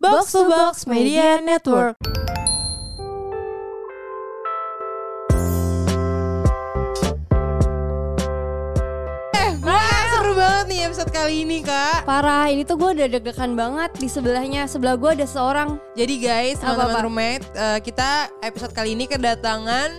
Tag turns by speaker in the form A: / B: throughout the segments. A: Box to Box Media Network.
B: Eh, wah seru banget nih episode kali ini kak.
A: Parah, ini tuh gue udah deg-degan banget di sebelahnya. Sebelah gue ada seorang
B: Jadi guys, teman-teman
A: Apa-apa?
B: roommate, eh, kita episode kali ini kedatangan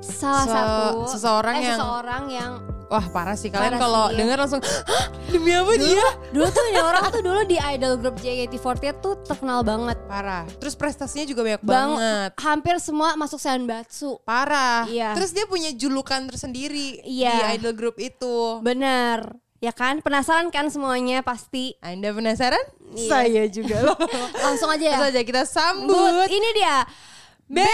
A: salah
B: Se-
A: satu
B: seseorang
A: eh,
B: yang-
A: seseorang yang
B: wah parah sih kalian
A: Parah
B: kalau
A: sih, iya.
B: denger langsung Hah, demi apa dia?
A: dulu tuh ada orang tuh dulu di idol group JKT48 tuh terkenal banget.
B: Parah. Terus prestasinya juga banyak
A: Bang-
B: banget.
A: Hampir semua masuk Sanbatsu.
B: Parah.
A: Iya.
B: Terus dia punya julukan tersendiri
A: Iya.
B: di idol group itu.
A: Bener. Ya kan? Penasaran kan semuanya pasti.
B: Anda penasaran?
A: Iya.
B: Saya juga loh.
A: Langsung aja ya.
B: Langsung aja kita
A: But,
B: sambut
A: ini dia.
B: Baby.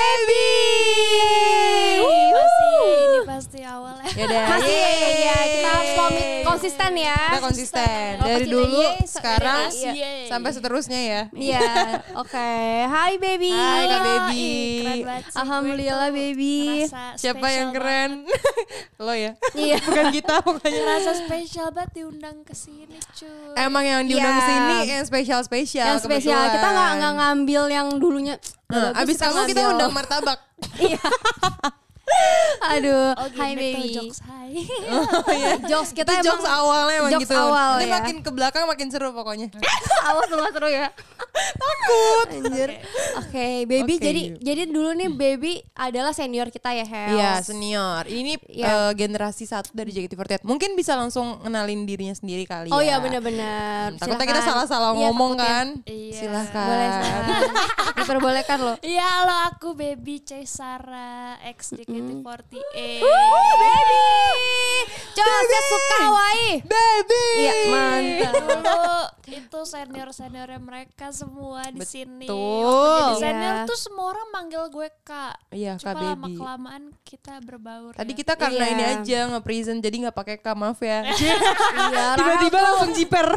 A: Wuh.
C: pasti ini pasti awalnya.
B: Yaudah,
A: Masih ya, ya, ya.
B: yeay.
A: Kita harus komit, konsisten ya.
B: Kita konsisten
A: Kalau
B: dari
A: kecil
B: dulu
A: aja, se-
B: sekarang
A: dari-
C: iya.
B: sampai seterusnya ya.
A: Iya, oke. Hai baby.
B: Hai Kak
C: Wah,
B: Baby.
C: ih, keren banget sih. Gue
A: Alhamdulillah,
C: tuh
A: baby.
C: ngerasa
B: Siapa
C: spesial
B: yang keren? Lo ya.
A: Iya.
B: Bukan kita
C: banget.
B: pokoknya.
C: Ngerasa spesial banget diundang ke sini, cuy.
B: Emang yang diundang
A: Iya.
B: sini yang spesial-spesial.
A: yang spesial. Kita nggak nggak ngambil yang dulunya. Udah
B: Nah,
A: bagus,
B: abis kamu kita
A: ngambil.
B: undang martabak.
A: Iya. Aduh,
C: oh,
A: hai
C: gimana tuh
A: baby.
C: Jokes, hai.
B: Oh iya.
A: Jokes kita
B: Itu jokes
A: emang
B: awalnya emang
A: jokes
B: gitu.
A: awal
B: Nanti
A: ya.
B: makin ke belakang makin seru pokoknya.
A: awal semua seru ya.
B: Takut.
A: Anjir. Oke, baby
B: Oke.
A: jadi jadi dulu nih baby adalah senior kita ya, Hel.
B: Iya senior. Ini
A: Iya.
B: eh, generasi satu dari JKT48. Mungkin bisa langsung kenalin dirinya sendiri kali.
A: Oh
B: ya.
A: iya benar-benar.
B: Hmm, Takutnya kita
A: Silakan.
B: salah-salah
A: Iya,
B: ngomong
A: takutnya.
B: kan.
C: Iya.
B: Silahkan.
A: Boleh silakan. Diperbolehkan loh.
C: Iya, halo aku baby Cesara ex JKT48.
A: Wuh,
B: Mm.
A: baby. Coba saya suka Hawaii.
B: Baby.
A: Iya, mantap.
C: Dulu itu senior-seniornya mereka semua di sini. Waktu
B: Betul.
C: Jadi senior
A: Iya.
C: tuh semua orang manggil gue kak.
B: Iya, Kak
C: Cuma lama
B: Baby.
C: kelamaan kita berbaur.
B: Tadi
C: ya.
B: kita karena
A: Iya.
B: ini aja nge-present jadi nggak pakai K, maaf ya.
A: Iya, Rahel
B: Tiba-tiba langsung jiper.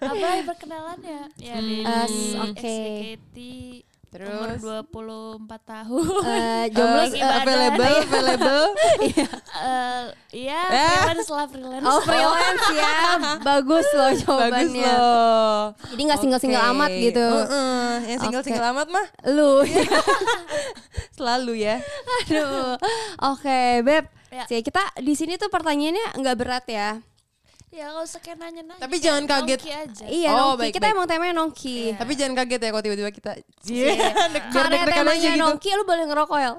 C: Apalagi perkenalan ya? Ya, Baby.
A: As, oke.
C: XDKT, umur
B: Hmm. Terus?
C: 24 tahun.
A: Eh, jomblo
C: Eh,
A: sih.
C: ibadah.
B: available, available.
C: Eh, Iya,
B: Eh.
C: freelance lah freelance.
A: Oh freelance ya, bagus loh
B: Bagus
A: jawabannya.
B: loh.
A: Jadi nggak single-single
B: Oke.
A: amat gitu.
B: Heeh, Yang single-single amat mah
A: Lu,
B: selalu ya.
A: Iya. aduh. Oke, beb.
C: Ya.
A: Sih, kita di sini tuh pertanyaannya nggak berat ya.
C: Ya nggak usah kayak nanya-nanya.
B: Tapi jangan
C: kayak
B: kaget.
C: nongki aja.
A: Iya,
B: Oh,
A: nongki.
B: baik,
A: kita
B: baik.
A: emang temanya nongki.
B: Tapi jangan kaget ya kalau tiba-tiba kita Deg- biar
A: Iya.
B: deg-degan
A: Karena
B: aja
A: temanya
B: gitu. Iya.
A: nongki, lu boleh ngerokok ya.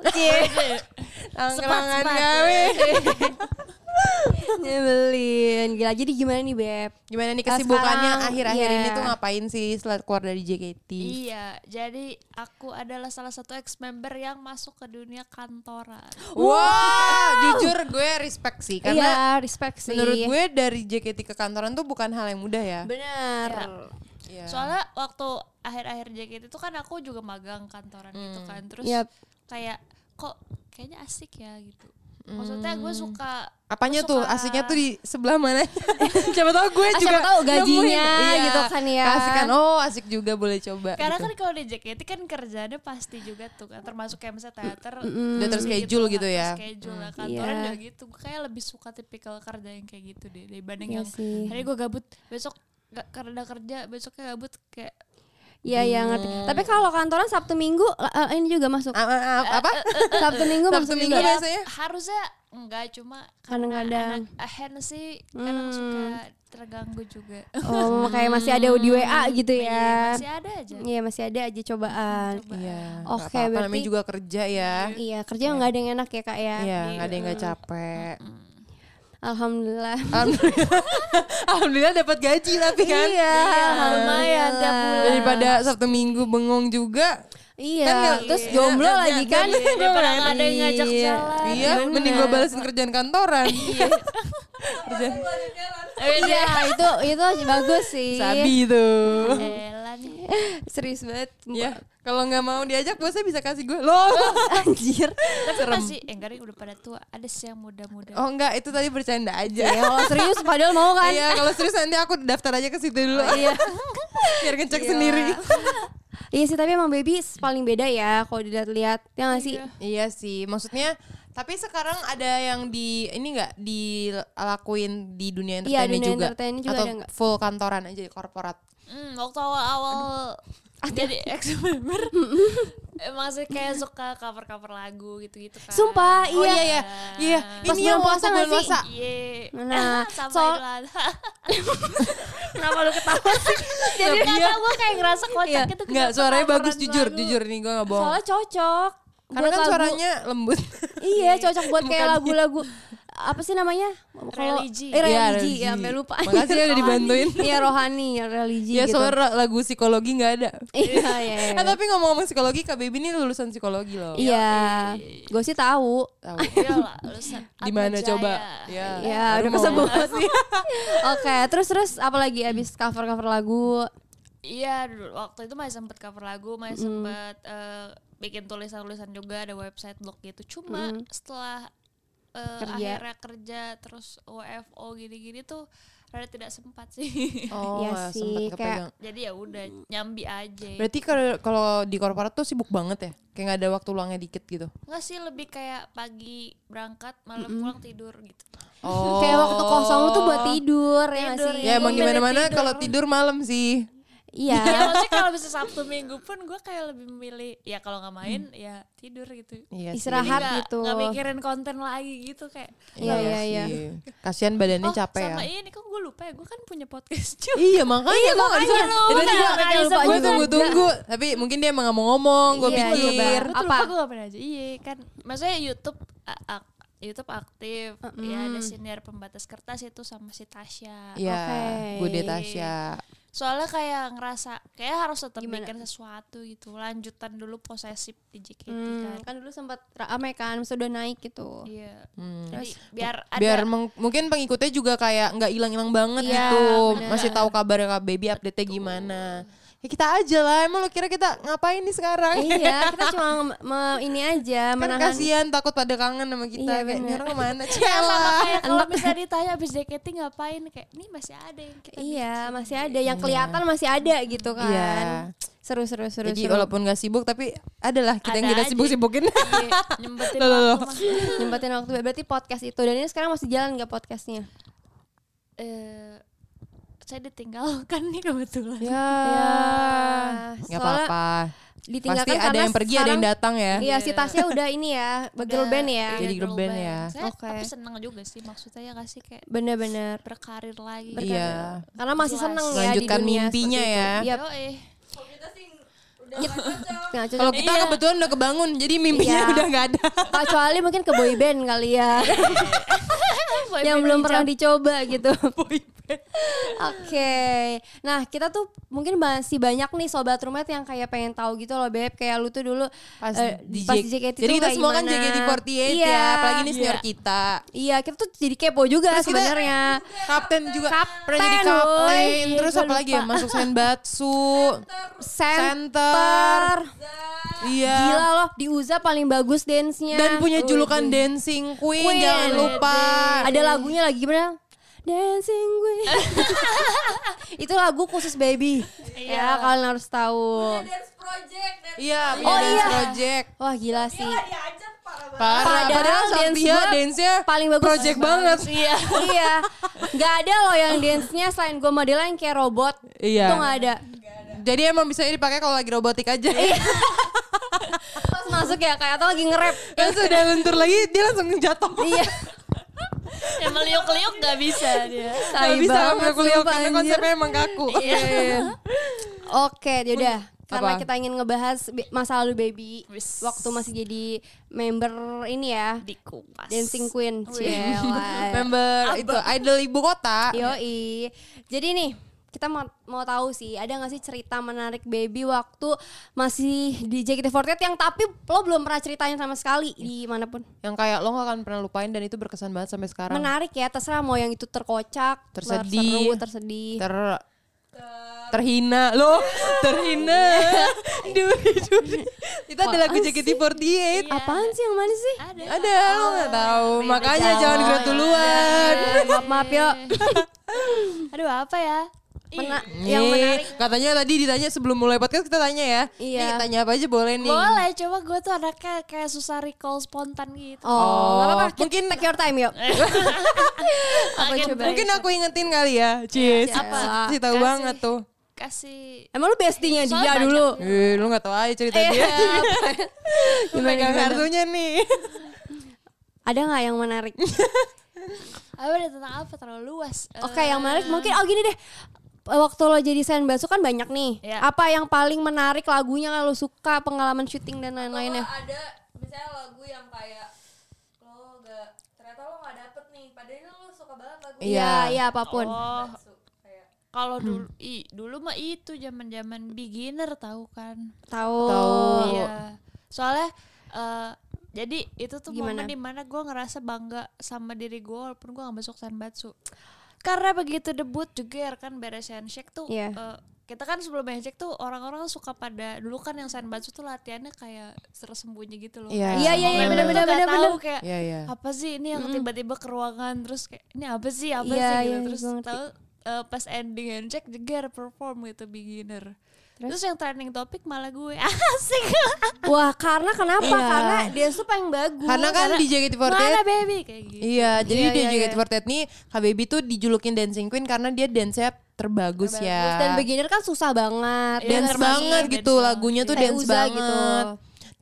B: Tangkrangan
C: Sepat-sepat.
B: kami.
A: Nyebelin. Gila, jadi gimana nih beb?
B: Gimana nih
A: Nah,
B: kesibukannya
A: sekarang,
B: akhir-akhir
A: iya.
B: ini tuh ngapain sih setelah keluar dari JKT?
C: Iya, jadi aku adalah salah satu ex member yang masuk ke dunia kantoran.
B: Wah, jujur gue respect sih karena
A: iya, respect sih.
B: menurut gue dari JKT ke kantoran tuh bukan hal yang mudah ya.
A: Bener.
B: Iya.
C: Soalnya waktu akhir-akhir JKT itu kan aku juga magang kantoran gitu
B: Hmm.
C: kan. Terus
A: Yap.
C: kayak kok kayaknya asik ya gitu.
B: Hmm.
C: Maksudnya gue suka
B: Apanya
C: gue
B: tuh
C: suka-
B: asiknya tuh di sebelah mana? siapa tahu gue
A: Ah,
B: juga
A: siapa tahu gajinya
B: nemuin.
A: gitu kan ya.
B: Asikan. Oh, asik juga boleh coba.
C: Karena
B: gitu.
C: kan kalau di JKT kan kerjanya pasti juga tuh kan termasuk kayak misalnya teater
B: Udah terschedule
C: kan,
B: gitu ya.
C: Terschedule lah kantoran
A: Iya.
C: udah gitu. Gue kayak lebih suka tipikal kerja yang kayak gitu deh dibanding
A: Iya
C: yang
A: sih.
C: hari gue gabut besok gak karena kerja besoknya gabut kayak
A: Iya, iya ngerti.
B: Hmm.
A: Tapi kalau kantoran Sabtu Minggu eh, ini juga masuk.
B: A- a- a- Ah, apa?
A: Eh, Sabtu Minggu
B: Sabtu
A: masuk
B: Minggu
A: juga.
B: biasanya?
C: harusnya enggak cuma karena
A: Kadang-kadang.
C: anak hand sih
B: Mm.
C: kadang suka terganggu juga. Iya,
A: Oh, kayak masih ada di WA
B: Hmm,
A: gitu ya.
C: Masih ada aja.
A: Iya, masih ada aja cobaan.
B: Iya.
A: Oke,
B: nggak apa-apa, namanya
A: berarti-
B: juga kerja ya.
A: Iya, kerja nggak ada yang enak ya, Kak ya.
B: Iya, nggak ada yang Ah, nggak capek.
A: Alhamdulillah.
B: Alhamdulillah, Alhamdulillah dapat gaji tapi kan.
A: Iya,
C: lumayan tiap bulan.
B: Daripada Sabtu Minggu bengong juga.
A: Iya.
B: Kan nggak-
A: terus
B: iya.
A: jomblo
B: Nggak-
A: lagi
B: nggak-
A: kan.
B: nggak- nggak-
C: Daripada nggak ada yang ngajak
A: Iya.
C: jalan.
B: Iya, mending gue balesin kerjaan kantoran. Kerjaan
A: Iya, itu itu bagus sih.
B: sabi itu.
C: Elah nih.
A: Serius banget.
B: Ya, kalau nggak mau diajak bosnya bisa kasih gue. Loh,
A: Anjir.
C: Tapi masih eh, enggak deh udah pada tua, ada sih yang muda-muda.
B: Oh enggak, itu tadi bercanda
A: Ya,
B: aja.
A: kalau serius padahal mau kan.
B: Iya, kalau serius nanti aku daftar aja ke situ dulu.
A: Iya.
B: Biar ngecek
A: Gila.
B: sendiri.
A: Iya sih, tapi emang baby paling beda ya kalau dilihat-lihat. Ya nggak sih?
B: Iya sih, maksudnya tapi sekarang ada yang di ini enggak dilakuin di dunia entertainment
A: Iya, dunia
B: juga,
A: entertainment juga
B: atau
A: ada nggak?
B: full kantoran aja di korporat.
C: Hmm, waktu awal-awal jadi ex member emang sih kayak suka cover-cover lagu gitu-gitu kan.
A: Sumpah,
B: Oh
A: Iya.
B: iya iya. Iya,
A: Pas
B: ini yang waktu
A: bulan puasa
B: bulan
A: nggak sih?
B: puasa.
C: Iya.
A: Nah,
C: sama
A: soal-
C: Idul Adha. Kenapa lu ketawa sih? Jadi
B: Iya.
C: karena gue kayak ngerasa kocak gitu,
A: Iya.
C: itu
B: Enggak, suaranya bagus jujur,
C: lagu.
B: jujur nih gue nggak bohong.
A: Soalnya cocok
B: Karena
A: buat
B: kan
A: lagu.
B: suaranya lembut.
A: Iya, cocok buat kayak
B: Bukan.
A: lagu-lagu apa sih namanya? Kalau-
C: Religi.
A: Eh,
B: Iya,
A: religi.
B: religi.
A: Ya, sampai lupa.
B: Makasih ya udah dibantuin.
A: Iya, rohani, religi
B: Iya,
A: gitu.
B: soalnya lagu psikologi nggak ada.
A: Iya, iya.
B: Eh, tapi ngomong-ngomong psikologi, Kak Baby ini lulusan psikologi loh.
A: Iya. Gue sih tahu.
B: Tahu.
C: Iyalah, lulusan
B: Di mana
C: Atmajaya.
B: coba? Ya.
A: Iya,
B: baru
A: udah
B: mau-
A: kesebut. Oke, terus terus apalagi abis cover-cover lagu?
C: Iya, dulu waktu itu masih sempet cover lagu, masih sempet eh, bikin tulisan-tulisan juga ada website blog gitu. Cuma setelah eh,
A: Kerja.
C: akhirnya kerja terus WFO gini-gini tuh rada tidak sempat sih.
B: Oh,
A: Iya
B: nggak
A: sih,
B: sempet
A: kayak-
B: kepegang.
C: Jadi ya udah nyambi aja.
B: Berarti kalau- kalau di korporat tuh sibuk banget ya? Kayak nggak ada waktu luangnya dikit gitu.
C: Enggak sih lebih kayak pagi berangkat, malam pulang tidur gitu.
B: Oh.
A: Kayak waktu kosong lu tuh buat tidur, ya nggak
C: Tidur,
A: sih?
B: Ya emang
C: Gua
B: gimana
C: milih
B: mana
C: tidur.
B: kalau tidur malam sih.
A: Iya.
C: Ya maksudnya kalau bisa Sabtu Minggu pun gue kayak lebih memilih ya kalau nggak main ya tidur gitu.
B: Iya sih.
A: Istirahat.
C: Jadi nggak-
A: gitu.
C: nggak mikirin konten lagi gitu kayak.
A: Iya, iya, iya.
B: sih. Kasihan badannya
C: oh,
B: capek ya.
C: sama ini kok gue lupa ya gue kan punya podcast juga.
B: Iya makanya
A: Iya,
B: gua nggak
A: makanya
B: bisa-
A: lu
B: Jadi
A: udah
B: gua-
A: nggak bisa
B: gua
A: juga.
B: tunggu-tunggu tapi mungkin dia emang nggak mau ngomong gue
A: Iya, iya,
B: pikir
A: Bang.
C: Gue
A: Apa?
C: lupa gue ngapain aja. Iya kan. Maksudnya YouTube a- ak- YouTube aktif. Ya ada senior pembatas kertas itu sama si Tasya.
B: Iya,
A: Oke.
B: gue Detasya.
C: Soalnya kayak ngerasa kayak harus tetap
A: Gimana?
C: bikin sesuatu gitu. Lanjutan dulu posesif di JKT
A: Hmm,
C: kan.
A: kan dulu sempat rame kan, maksudnya udah naik gitu.
C: Iya.
B: Hmm.
C: Jadi biar ada
B: Biar meng- mungkin pengikutnya juga kayak nggak hilang-hilang banget
A: Iya,
B: gitu,
A: bener.
B: masih tahu kabar Kak Baby update-nya gimana. Ya kita aja lah, emang lo kira kita ngapain nih sekarang?
A: iya, kita cuma nge- me- ini
B: kan
A: aja menahan
B: kasihan takut pada kangen sama kita.
A: Iya,
B: Kayak,
A: bener.
B: "Ini orang kemana?
C: Ya, sama
B: Cialah.
C: kayak kalau misalnya ditanya abis JKT ngapain kayak nih masih ada yang kita
A: Iya, masih ada yang kelihatan masih ada gitu kan.
B: gitu. Iya.
A: Seru seru seru.
B: Jadi
A: seru.
B: walaupun gak sibuk tapi adalah kita yang
C: Ada
B: kita
C: aja.
B: sibuk-sibukin. Ya.
C: bikin. Iya, nyempetin
B: Loh, loh,
C: waktu
B: loh.
C: mah.
A: nyempetin waktu berarti podcast itu dan ini sekarang masih jalan nggak podcastnya?
C: Eh, saya ditinggalkan nih kebetulan.
B: ya. Nggak
A: Iya. Soalnya
B: apa-apa. Pasti
A: Ditinggalkan
B: ada
A: karena
B: yang pergi, ada yang
A: sekarang-
B: datang ya.
A: Iya, si Tasya udah ini ya, girl band ya.
B: Jadi girl band ya.
C: Saya
A: Oke.
C: tapi seneng juga sih maksudnya ya gak sih kayak
A: Bener-bener.
C: berkarir lagi.
B: Iya.
A: Karena masih
C: Jelas.
A: seneng ya di
B: Lanjutkan
A: dunia
B: mimpinya
A: seperti
B: ya.
A: itu. Iya.
C: Yoi.
A: Nah, cocok.
B: Kalau kita kebetulan udah kebangun, jadi mimpinya
A: Iya.
B: udah nggak ada.
A: kecuali mungkin ke boyband kali ya.
C: Boy
A: yang
C: band
A: belum
C: hijab.
A: pernah dicoba gitu. Oke, nah kita tuh mungkin masih banyak nih sobat rumet yang kayak pengen tahu gitu loh beb, kayak lu tuh dulu
B: Pas
A: eh,
B: di
A: pas
B: J-
A: di JKT
B: Jadi
A: tuh
B: kita
A: kayak
B: semua kan
A: gimana.
B: JKT48
A: Iya.
B: ya, apalagi ini senior kita.
A: Iya, kita tuh jadi kepo juga
B: Terus kita-
A: sebenarnya.
B: Kapten juga
A: Kapten,
B: pernah jadi kapten.
A: woy. Iya,
B: Terus
A: Gua
B: apa lagi ya?
A: lupa.
B: Masuk senbatsu.
A: Center.
B: Iya.
A: Gila loh, di Uza paling bagus dance-nya.
B: Dan punya
A: Iya, Wih,
B: julukan
A: wih.
B: Dancing Queen,
A: Queen.
B: jangan lupa.
A: Ada lagunya lagi gimana? Dancing Queen. Itu lagu khusus baby. ya,
C: Iya.
A: kalian harus tahu.
B: Iya, punya
A: Oh,
B: dance
A: iya.
B: project.
A: Wah, gila sih.
B: Parah,
A: Padahal
B: padahal
A: dance
B: Satya
A: gua
B: dance-nya
A: paling bagus.
B: project banget.
C: Iya.
A: iya. Gak ada loh yang dance-nya selain gue Madela yang kayak robot.
B: Iya.
A: Itu gak ada.
B: Jadi emang bisa dipakai kalau lagi robotik aja.
A: Iya. Terus masuk ya kayak atau lagi nge-rap.
B: Terus udah luntur lagi dia langsung jatuh.
A: iya.
C: Yang meliuk-liuk gak bisa dia.
A: Tai
B: Gak bisa
A: banget,
B: ngambil kuliah
A: sumpah,
B: karena
A: anjir.
B: konsepnya emang kaku.
C: Iya.
A: Oke, yaudah.
B: Apa?
A: Karena kita ingin ngebahas bi- masa lalu baby
C: Wis.
A: waktu masih jadi member ini ya,
C: Dikupas.
A: Dancing Queen. Cielai.
B: Member itu idol ibu kota.
A: Iya. Yoi. Jadi nih, kita mau, mau tahu sih, ada gak sih cerita menarik baby waktu masih di JKT48 yang tapi lo belum pernah ceritain sama sekali
B: Iya.
A: dimanapun.
B: Yang kayak lo gak akan pernah lupain dan itu berkesan banget sampai sekarang.
A: Menarik ya, terserah mau yang itu terkocak,
B: Tersedih.
A: terseru, tersedih.
B: Ter terhina lo terhina duri duri itu ada lagu JKT48
D: Iya.
A: Apaan sih yang mana sih?
C: Ada.
B: ada lo nggak tahu makanya jangan gerak duluan
A: Eh, maaf maaf yuk.
C: Aduh apa ya?
A: Mena-
B: Nih,
A: yang menarik
B: katanya tadi ditanya sebelum mulai podcast kita tanya ya
A: Iya.
B: Nih, tanya apa aja boleh nih
C: Boleh, coba gue tuh anaknya kayak susah recall spontan gitu.
A: Oh, Eh, nggak apa-apa.
B: Oh, mungkin
A: Take your time yuk. Apa
C: Makin
A: coba?
B: mungkin aku ingetin kali ya cie si,
A: Apa?
B: si tahu
C: Kasih.
B: banget tuh
C: kasih ya.
A: Emang lu bestinya
C: Soalnya
A: dia
C: banyak.
A: dulu.
B: Eh, lu gak tau aja cerita dia.
A: Iya.
B: Lu pegang kartunya nih.
A: Ada nggak yang menarik?
C: apa deh, tentang apa terlalu luas.
A: Oke, yang menarik mungkin oh gini deh. Waktu lo jadi Sen Basu kan banyak nih.
C: Iya.
A: Apa yang paling menarik lagunya kalau lo suka pengalaman syuting dan
D: Kalau
A: lain-lainnya?
D: ada misalnya lagu yang kayak lo gak ternyata lo gak dapet nih padahal ini lo suka banget lagu
B: Iya.
A: Iya, iya apapun.
C: Oh,
D: Su, kayak
C: kalau
A: Hmm.
C: dulu i, dulu mah itu zaman-zaman beginner tahu kan.
A: Tahu.
B: Tahu.
C: Iya. Soalnya eh, jadi itu tuh
A: Gimana?
C: momen dimana gue ngerasa bangga sama diri gue walaupun gue gak masuk Senbatsu. Karena begitu debut juga kan beres handshake tuh
A: Iya.
C: eh, kita kan sebelum handshake tuh orang-orang suka pada dulu kan yang Senbatsu tuh latihannya kayak tersembunyi gitu loh.
B: Iya.
A: Iya, iya, iya,
C: Orang-orang
A: benar-benar,
C: tuh nggak
A: benar-benar.
C: tahu kayak
B: Iya, iya.
C: apa sih ini yang tiba-tiba ke ruangan terus kayak ini apa sih apa
A: Iya,
C: sih
A: iya,
C: gitu terus
A: gua ngerti.
C: tahu eh, pas ending handshake jeger perform gitu beginner terus, yang trending topik malah gue asik
A: Wah, karena kenapa? Karena dia tuh paling bagus.
B: Karena kan di
C: mana
B: JKT48
C: baby kayak gitu
B: Iya, jadi
A: Iya,
B: di
A: iya, iya.
B: JKT48 nih Kak Baby tuh dijulukin Dancing Queen karena dia dance-nya terbagus, ya.
A: Dan beginner kan susah banget.
C: Iya,
B: dance
C: termasuk
B: banget
C: dance
B: gitu
C: banget.
B: lagunya tuh
A: Kayak
B: dance
A: Uza
B: banget
A: gitu.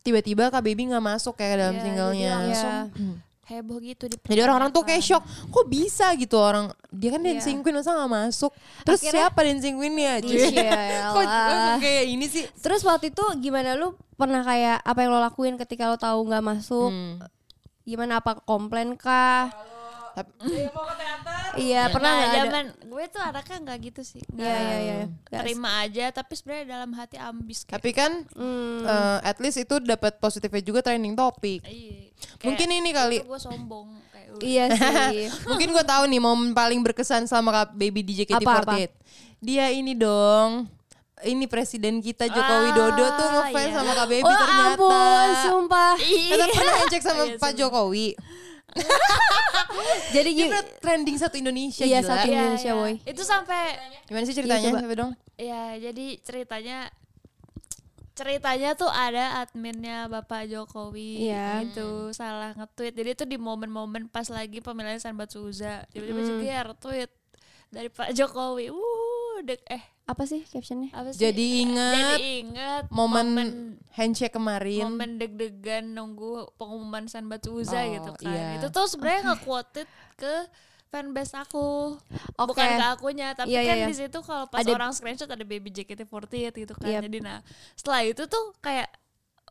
B: tiba-tiba Kak Baby nggak masuk kayak dalam
C: Iya,
B: singlenya
C: jadi langsung
A: Iya.
C: heboh gitu di
B: jadi orang-orang tuh kayak shock kok bisa gitu orang dia kan dancing queen masa nggak masuk terus
A: Iya. Akhirnya-
B: siapa dancing queennya
A: Iya,
B: Cie? kok kok kayak ini sih
A: Terus waktu itu gimana lu pernah kayak apa yang lo lakuin ketika lo tahu nggak masuk? Gimana apa komplain kah?
D: dia mau ke teater
A: Iya, pernah
C: pernah
A: nggak ada?
C: Nah, zaman gue tuh anaknya nggak gitu sih
A: Iya,
C: Nggak
A: iya, iya. Nggak-
C: terima aja tapi sebenarnya dalam hati ambis kayak
B: tapi kan
A: Hmm.
B: eh, at least itu dapat positifnya juga training topik
C: iya
B: mungkin ini kali
C: gue sombong kayak gitu. udah.
A: Iya sih.
B: mungkin gue tahu nih momen paling berkesan selama Kak Baby di
A: Apa,
B: JKT48
A: apa?
B: dia ini dong ini presiden kita Joko Widodo tuh ngefans
C: iya.
B: sama Kak Baby
A: Ah, oh
B: ternyata
A: ampun, Iya. sumpah.
B: Kata pernah cek sama Pak Jokowi.
A: Jadi
B: Dia
A: gini,
B: pernah trending satu Indonesia
A: Iya,
B: gila.
A: satu-
C: Iya,
A: Indonesia,
C: iya.
A: woy.
C: itu sampai
B: Gimana sih ceritanya?
A: Iya, coba.
B: Coba dong.
C: Ya, jadi ceritanya ceritanya tuh ada adminnya Bapak Jokowi
A: Iya.
C: itu salah nge-tweet. Jadi itu di momen-momen pas lagi pemilihan Sanbatsu Uza, tiba-tiba jeger tweet dari Pak Jokowi. Uh, dek eh
A: apa sih captionnya?
C: apa sih?
B: Jadi inget
C: Jadi inget
B: momen,
C: momen
B: handshake kemarin.
C: momen deg-degan nunggu pengumuman Sanbatsu
B: Oh,
C: Uza gitu kan.
B: iya.
C: Itu tuh sebenarnya nge-quoted ke fanbase aku.
A: Oke.
C: Bukan ke akunya, tapi
A: Iya, iya,
C: kan
A: iya.
C: di situ kalau pas
A: Ada-
C: orang screenshot ada baby JKT48 gitu kan.
A: Yap.
C: Jadi nah, setelah itu tuh kayak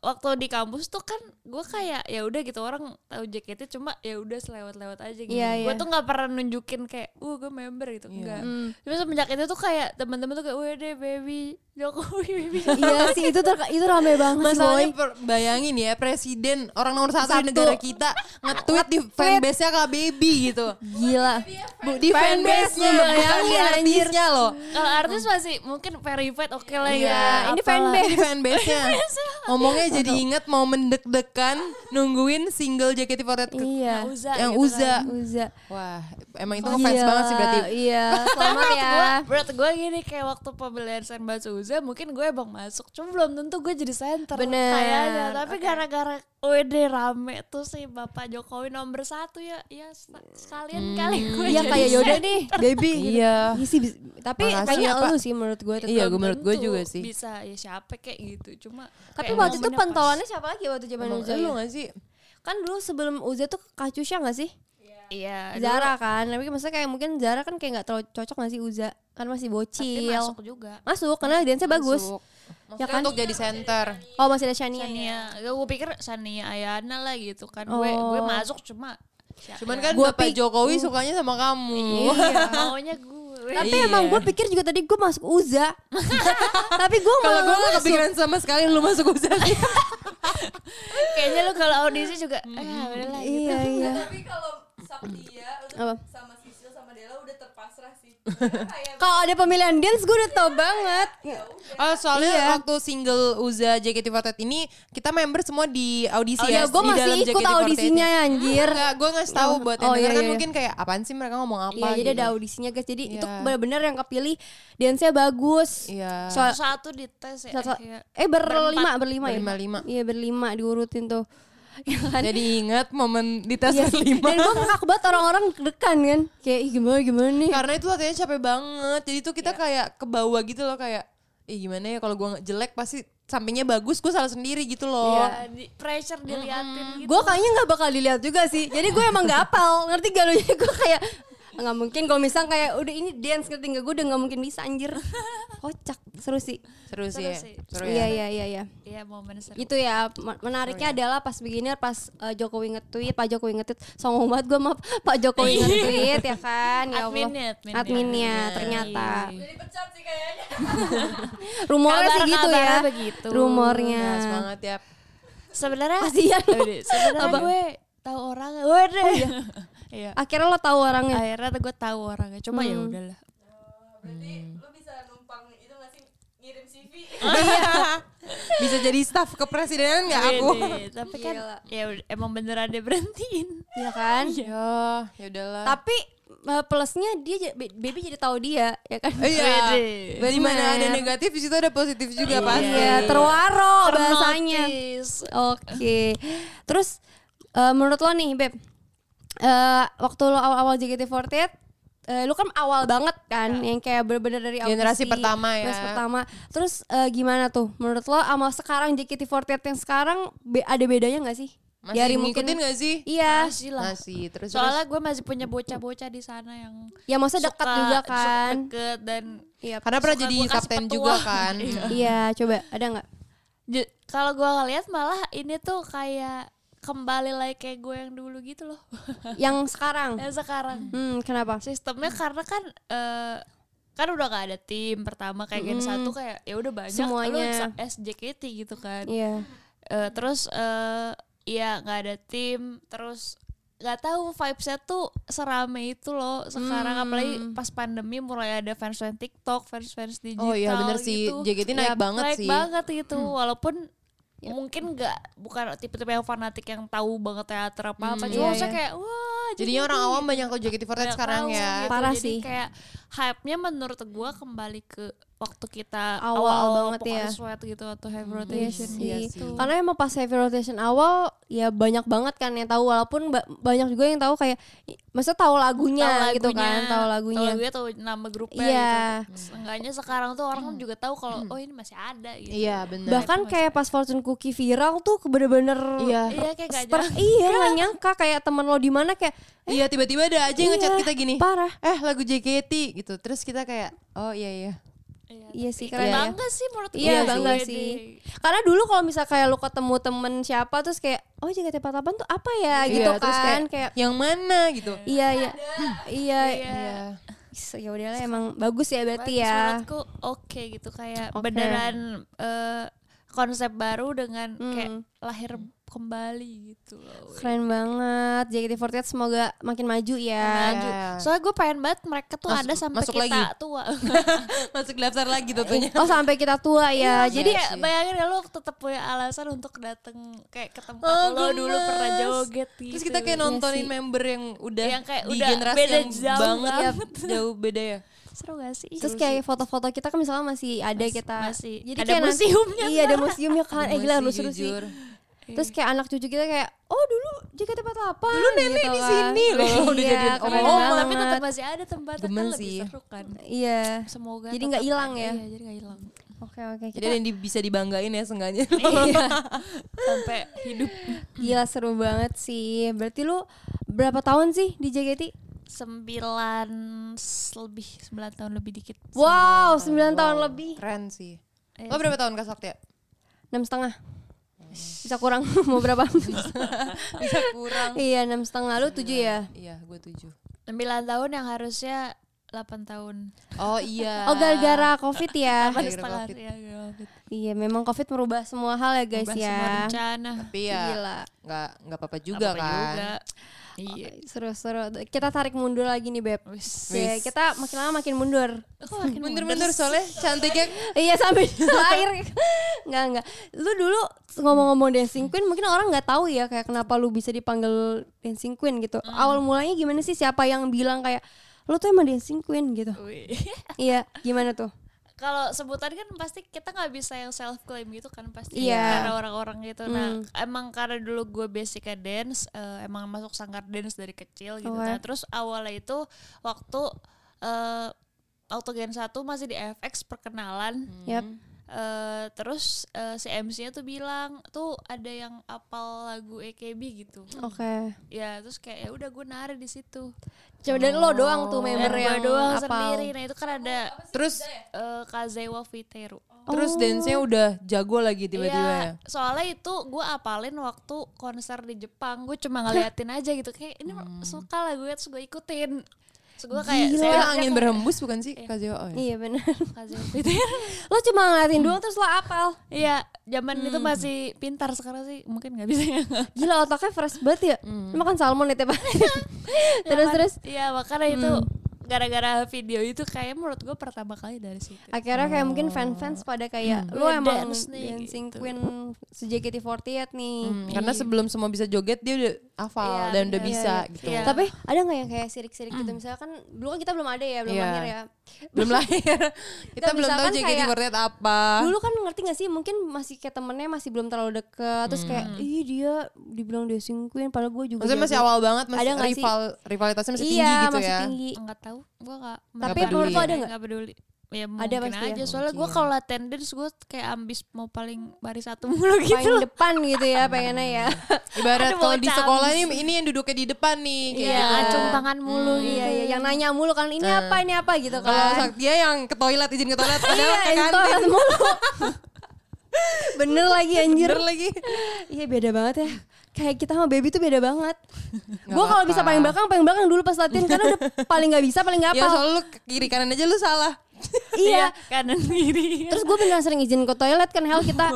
C: waktu di kampus tuh kan gue kayak ya udah gitu orang tahu JKT cuma ya udah selewat-lewat aja gitu.
A: Iya,
C: Gue
A: iya.
C: tuh nggak pernah nunjukin kayak uh gue member gitu enggak.
A: Hmm.
C: Tapi semenjak itu tuh kayak teman-teman tuh kayak wede deh baby Jokowi baby.
A: iya sih itu ter- itu rame banget sih,
B: Masalahnya
A: Boy.
B: per- bayangin ya presiden orang nomor satu, di
A: Satu.
B: negara kita nge-tweet di fanbase-nya Kak Baby gitu.
A: Gila.
B: Bu, di fanbase-nya
A: lu
B: bukan di
A: bayangin, anjir.
B: artisnya loh.
C: Kalau Eh, artis masih mungkin verified oke lah ya.
A: Iya, ini
C: apalah.
A: fanbase.
B: Di fanbase-nya. Ngomongnya jadi inget momen deg-degan nungguin single JKT48 ke-
A: Iya.
C: Uza
B: yang
C: gitu
B: Uza.
C: kan.
A: Uza.
B: Wah, emang itu ngefans
A: Gila,
B: banget sih berarti.
A: Iya,
C: Tapi
A: selamat
C: menurut
A: ya.
C: gue, menurut gue gini kayak waktu pembelian Senbatsu Uza mungkin gue emang masuk, cuma belum tentu gue jadi center
A: Bener,
C: kayaknya. Tapi
A: oke.
C: gara-gara WD rame tuh sih Bapak Jokowi nomor satu ya, ya sa- sekalian kali gue
A: Iya
C: jadi
A: kayak yaudah
C: center.
A: deh.
B: Baby. Iya.
A: Iya sih, bis- tapi
B: Makasih ya,
A: kayaknya
B: Pak.
A: lu sih ya, menurut gue
B: Iya,
C: Belum
B: gue menurut gue
C: tentu
B: juga sih.
C: Bisa ya siapa kayak gitu, cuma
A: Tapi
C: kayak
A: waktu itu
C: momennya pas.
A: pentolannya siapa lagi waktu zaman
B: Emang
A: Uza?
B: lu
A: ya?
B: gak sih?
A: Kan dulu sebelum Uza tuh Kacusya gak sih?
C: Iya,
A: Zara kan, tapi maksudnya kayak mungkin Zara kan kayak nggak terlalu cocok nggak sih Uza? Kan masih
C: tapi
A: bocil.
C: masuk juga.
A: Masuk, karena dance-nya bagus.
B: Masuk.
A: Ya
B: Maksudnya
A: kan?
B: untuk jadi center.
A: Oh masih ada Shania.
C: Sania, gue pikir Sania Ayana lah gitu kan. Gue gue
A: Oh.
C: masuk cuma
B: Cuman kan
A: Gua Iya.
B: Bapak
A: pik-
B: Jokowi sukanya sama kamu.
C: iya, maunya gue.
A: Tapi
B: Iya.
A: emang gue pikir juga tadi gue masuk Uza. tapi gue
B: Kalau
A: malah
B: gue gak
A: masuk.
B: kepikiran sama sekali lu masuk Uza sih.
C: Kan Kayaknya lu kalau audisi juga eh udahlah gitu.
A: Iya iya.
D: tapi kalau Saktia
A: Apa?
D: udah sama Sisil sama Dela udah terpasrah sih Mereka kayak
A: Kalau ada pemilihan dance gue udah tau banget.
B: Oh, soalnya
A: Iya.
B: waktu single Uza JKT48 ini kita member semua di audisi
A: Oh ya,
B: ya,
A: gue
B: di dalam
A: masih ikut
B: JKT48.
A: audisinya anjir.
B: Enggak, gue ngasih tahu buat yang
A: Iya, Oh, iya,
B: denger kan
A: iya.
B: mungkin kayak apaan sih mereka ngomong apa
A: Iya, jadi
B: gitu.
A: ada audisinya guys. Jadi itu
B: Iya.
A: benar-benar yang kepilih dance-nya bagus.
B: Iya.
A: Soal
C: Satu dites ya.
A: Satu-
C: iya.
A: eh berlima berlima ya
B: Berlima-lima.
A: iya berlima diurutin tuh Ya kan?
B: Jadi ingat momen di tes
A: Iya.
B: kelima.
A: Dan gue ngakak banget orang-orang dekan kan. Kayak "Ih, gimana gimana nih.
B: Karena itu latihannya capek banget. Jadi tuh
A: Iya.
B: kita kayak ke bawah gitu loh kayak Ih gimana ya kalau gua nggak jelek pasti sampingnya bagus gue salah sendiri gitu loh.
C: Iya, di- pressure diliatin gitu.
A: Gue kayaknya nggak bakal dilihat juga sih. Jadi gue emang nggak apal. Ngerti gak lo? Jadi gue kayak nggak mungkin kalau misal kayak udah ini dance ngerti nggak gue udah nggak mungkin bisa anjir kocak seru sih
B: Seru sih.
C: Seru
B: ya?
C: sih.
B: Seru
A: iya
B: ya.
A: iya iya iya
C: Iya, momen seru.
A: itu ya ma- menariknya adalah pas beginner pas eh, Jokowi nge-tweet Pak Jokowi nge-tweet sombong banget gue maaf Pak Jokowi nge-tweet ya kan ya Allah
C: Adminnya, adminnya.
A: Adminnya, ternyata
C: Iya.
D: Jadi pecat sih kayaknya.
A: rumornya sih gitu ya
C: Kabar-kabarnya begitu. Iya,
A: rumornya
B: Nah, semangat ya.
C: Sebenarnya
A: kasihan lu.
C: Aduh, sebenarnya
A: Abang.
C: gue tahu orang. Waduh. iya.
A: akhirnya lo tahu orangnya
C: Akhirnya tuh gue tahu orangnya. Cuma ya udahlah. Hmm.
D: Oh, Berarti lu bisa numpang itu nggak sih ngirim CV?
C: Oh, iya.
B: Bisa jadi staff kepresidenan nggak aku?
A: Iya.
C: Wede, Tapi kan
A: Gila.
C: ya ud- emang beneran dia berhentiin.
A: ya kan
B: Ya, ya udahlah.
A: tapi eh, plusnya dia ja- Be- baby jadi tahu dia ya kan
B: Iya.
C: Wede.
B: Di mana ada
A: Bener.
B: negatif di situ ada positif juga pasti.
A: Iya, terwaro bahasanya.
C: Ternotis.
A: Oke. Terus eh, menurut lo nih, Beb. eh, waktu lo awal-awal JKT48 eh, lu kan awal banget kan yang kayak bener-bener dari audisi,
B: Ya. Generasi pertama ya.
A: generasi pertama. Terus eh, gimana tuh menurut lo sama sekarang JKT48 yang sekarang be- ada bedanya nggak sih?
B: Masih ngikutin nggak sih?
A: Iya.
C: Masih lah.
B: Masih terus
C: Soalnya gue masih punya bocah-bocah di sana yang
A: Ya maksudnya dekat
C: suka-
A: juga
C: suka
A: kan.
C: Deket dan
A: Iya.
B: karena pernah
C: suka
B: jadi
C: gua kasih
B: kapten
C: petua.
B: juga kan.
C: Iya.
A: Iya, coba ada nggak?
C: Ju- kalau gue ngeliat malah ini tuh kayak kembali lagi kayak gue yang dulu gitu loh.
A: Yang sekarang.
B: Eh,
C: yang sekarang.
A: Hmm, kenapa?
C: Sistemnya karena kan eh, kan udah gak ada tim pertama kayak gen satu kayak ya udah banyak lu
A: Semuanya.
C: sa- SJKT gitu kan.
A: Iya.
C: Eh, terus eh ya nggak ada tim terus nggak tahu vibesnya tuh serame itu loh sekarang apalagi
B: Hmm.
C: pas pandemi mulai ada fans fans TikTok fans fans digital
B: Oh iya bener sih
C: gitu.
B: JKT naik banget
C: naik
B: sih. Hmm. Iya.
C: banget gitu walaupun mungkin nggak bukan tipe-tipe yang fanatik yang tahu banget teater apa
A: Hmm,
C: apa cuma
A: iya,
C: maksudnya
A: iya.
C: kayak wah
B: Jadinya orang awam banyak tau JKT48
C: nggak
B: sekarang
C: tahu
B: ya.
C: gitu.
A: Parah
C: Jadi
A: sih.
C: kayak hype-nya menurut gua kembali ke waktu kita
A: Awal banget
C: Pokoknya
A: ya.
C: sweat gitu atau heavy
A: Iya
C: rotation
A: sih.
B: Iya
C: gitu.
B: sih.
A: Karena emang pas heavy rotation awal ya banyak banget kan yang tahu walaupun ba- banyak juga yang tahu kayak i- maksudnya tahu lagunya, gitu kan, tahu lagunya.
C: tahu lagunya tahu nama grupnya
A: Iya. Hmm.
C: gitu seenggaknya sekarang tuh orang juga tahu kalau oh ini masih ada gitu
B: Iya bener.
A: Bahkan kayak pas Fortune Cookie viral tuh bener-bener
B: Iya.
C: iya kayak gak
A: Seper- iya nggak nyangka kayak temen lo di mana kayak
B: Iya tiba-tiba ada aja yang ngechat
A: Iya,
B: kita gini.
A: parah.
B: Eh lagu JKT gitu. Terus kita kayak oh iya iya.
A: iya sih
C: jelas.
A: keren ya.
C: bangga sih menurut gue
A: Iya bangga
C: Wede.
A: sih. Karena dulu kalau misal kayak lu ketemu temen siapa terus kayak oh JKT48 tuh apa ya gitu
B: Iya, terus
A: kan kayak,
B: yang mana gitu.
A: iya iya. Iya.
C: Iya.
B: Iya.
A: Is- Ya udahlah emang bagus ya berarti
C: Bagus,
A: ya.
C: menurutku oke gitu kayak beneran eh, konsep baru dengan kayak lahir kembali gitu loh Wede.
A: Hmm. Keren banget. JKT48 semoga makin maju ya.
C: Maju.
B: Iya.
C: Soalnya gue pengen banget mereka tuh
B: Masuk-
C: ada sampai
B: masuk
C: kita
B: lagi.
C: tua.
B: Masuk daftar lagi tentunya.
C: Iya, gitu.
A: Oh sampai kita tua ya.
C: Jadi
A: Jadi
C: kayak bayangin ya lu tetap punya alasan untuk dateng kayak ke tempat
A: Oh,
C: lo dulu pernah joget gitu.
B: Terus kita
A: Iya
B: kayak nontonin member yang udah
C: Yang kayak
B: di
C: udah
B: generasi
C: beda
B: yang
C: jauh
B: banget, ya,
C: banget.
B: jauh beda ya.
C: seru gak sih?
A: terus kayak foto-foto kita kan misalnya masih ada kita.
C: Iya, masih.
A: Jadi
C: Ada
A: kayak nanti-
C: museumnya
A: Iya ada museumnya kan. Eh gila
B: Masih
A: lu seru sih.
B: jujur.
A: Terus kayak anak cucu kita kayak oh dulu JKT48. Dulu
B: nenek di sini loh, udah
A: gitu kan." Iya,
B: jadiin
A: keren
B: oma.
A: banget.
C: oh, tapi tetap masih ada tempat kan
B: Demen
C: lebih
B: sih.
C: seru kan.
A: Iya.
C: Semoga
A: Jadi
C: tetap
A: nggak hilang
C: ada.
A: ya?
C: Iya, jadi gak hilang.
A: Oke oke.
B: Jadi
A: Kita
B: ada yang di- bisa dibanggain ya seenggaknya.
C: Iya. Sampai hidup
A: gila seru banget sih. Berarti lu berapa tahun sih di JKT?
C: sembilan s- lebih sembilan tahun lebih dikit.
A: Wow, 9 tahun lebih.
B: Keren sih.
C: Iya
B: Lo berapa tahun Kak Saktia?
A: enam setengah bisa kurang mau berapa
B: Bisa kurang.
A: iya enam setengah lu tujuh ya
B: Iya, gue tujuh.
C: Sembilan tahun yang harusnya delapan tahun.
B: Oh iya.
A: oh gara-gara covid ya
C: Delapan
B: gara-gara
C: setengah
B: Covid.
C: ya, gara-gara.
A: iya memang covid merubah semua iya. hal ya guys
C: Ubah
A: ya
C: semua rencana.
B: Tapi ya
A: gila
B: nggak nggak apa-apa juga
C: Apa-apa
B: kan.
C: juga. Iya.
A: seru-seru kita tarik mundur lagi nih beb
C: Wis.
A: Oke, kita makin lama makin mundur
C: Kok makin
B: Mundur-mundur soalnya cantiknya
A: iya sampai lahir nggak nggak lu dulu ngomong-ngomong dancing queen mungkin orang nggak tahu ya kayak kenapa lu bisa dipanggil dancing queen gitu awal mulanya gimana sih siapa yang bilang kayak lu tuh emang dancing queen gitu
C: Wih.
A: iya gimana tuh
C: kalau sebutan kan pasti kita nggak bisa yang self claim gitu kan pasti
A: Iya.
C: karena orang-orang gitu nah
A: Hmm.
C: emang karena dulu gue basicnya dance eh, emang masuk sangkar dance dari kecil gitu
A: Oke.
C: Nah, terus awalnya itu waktu eh Autogen 1 masih di FX perkenalan
A: Yap.
C: eh terus eh, si MC-nya tuh bilang tuh ada yang apal lagu EKB gitu
A: Oke.
C: ya terus kayak ya udah gue narik di situ
A: Coba dari lo doang tuh
C: Dan
A: member
C: gue
A: yang
C: doang
A: apal.
C: sendiri nah itu kan ada
B: Terus
C: eh, Kazewa Fiteru
B: terus dance-nya udah jago lagi tiba-tiba ya.
C: Iya, soalnya itu gue apalin waktu konser di Jepang gue cuma ngeliatin aja gitu kayak ini suka lagunya terus gue ikutin terus gue kayak
B: Yang
A: Gila.
C: saya
B: angin berhembus bukan sih Kak Zeo? Oh, ya.
A: Iya benar.
C: Kazewa
A: Gitu ya?
C: Fiteru
A: Lo cuma ngeliatin doang terus lo apal.
C: iya zaman itu masih pintar sekarang sih mungkin nggak bisa ya
A: Gila otaknya fresh banget ya. Lo makan salmon ya tiap hari. terus terus
C: Iya makanya itu gara-gara video itu kayak menurut gue pertama kali dari situ.
A: akhirnya kayak mungkin fans-fans pada kayak lo
C: Gue
A: emang
C: dance nih,
A: dancing queen sejkt48 nih.
B: Hmm, Karena sebelum semua bisa joget dia udah hafal
C: Iya,
B: dan udah
C: bener.
B: bisa
A: Iya. Iya.
B: gitu.
C: Iya.
A: Tapi ada nggak yang kayak sirik-sirik gitu misalnya kan dulu kan kita belum ada ya belum
B: Iya.
A: lahir ya.
B: Belum lahir. Kita
A: Nah,
B: belum tahu
A: misalkan
B: JKT48 apa.
A: Dulu kan ngerti gak sih mungkin masih kayak temennya masih belum terlalu deket terus kayak ih dia dibilang dancing queen padahal gue juga
B: Hmm. Maksudnya masih
C: Iya.
A: jago."
B: awal banget masih
A: Ada nggak sih?
B: rival rivalitasnya masih
A: iya,
B: tinggi gitu
A: masih
B: ya.
A: tinggi.
C: Enggak tahu, gue nggak.
A: Tapi
C: nggak
B: menurut lo
C: peduli.
A: ada nggak?
C: Nggak peduli. Ya mungkin
A: Ada pasti ya.
C: aja. Soalnya gue
B: Mungkin.
C: kalau attendance gue kayak ambis mau paling baris satu mulu gitu.
A: Paling depan gitu ya pengennya ya.
B: Ibarat
C: Aduh,
B: kalau di
C: bocah.
B: sekolah ini ini yang duduknya di depan nih kayak
C: Iya,
B: gitu.
C: acung tangan mulu gitu.
A: iya iya yang nanya mulu kan ini
B: Nah.
A: apa ini apa gitu
B: Kalau
A: kan.
B: dia yang ke toilet izin ke toilet padahal kan
A: Iya,
B: ke
A: itu
B: kantin.
A: toilet mulu. Bener lagi anjir.
B: Gitu. Bener lagi.
A: Iya beda banget ya. Kayak kita sama baby tuh beda banget. Gue kalau bisa
B: apa-apa.
A: paling belakang, paling belakang dulu pas latihan karena udah paling nggak bisa, paling nggak
B: Ya
A: apa.
B: soal lu ke kiri kanan aja lu salah.
A: iya.
C: kanan kiri.
A: Terus gue beneran sering izin ke toilet kan hell kita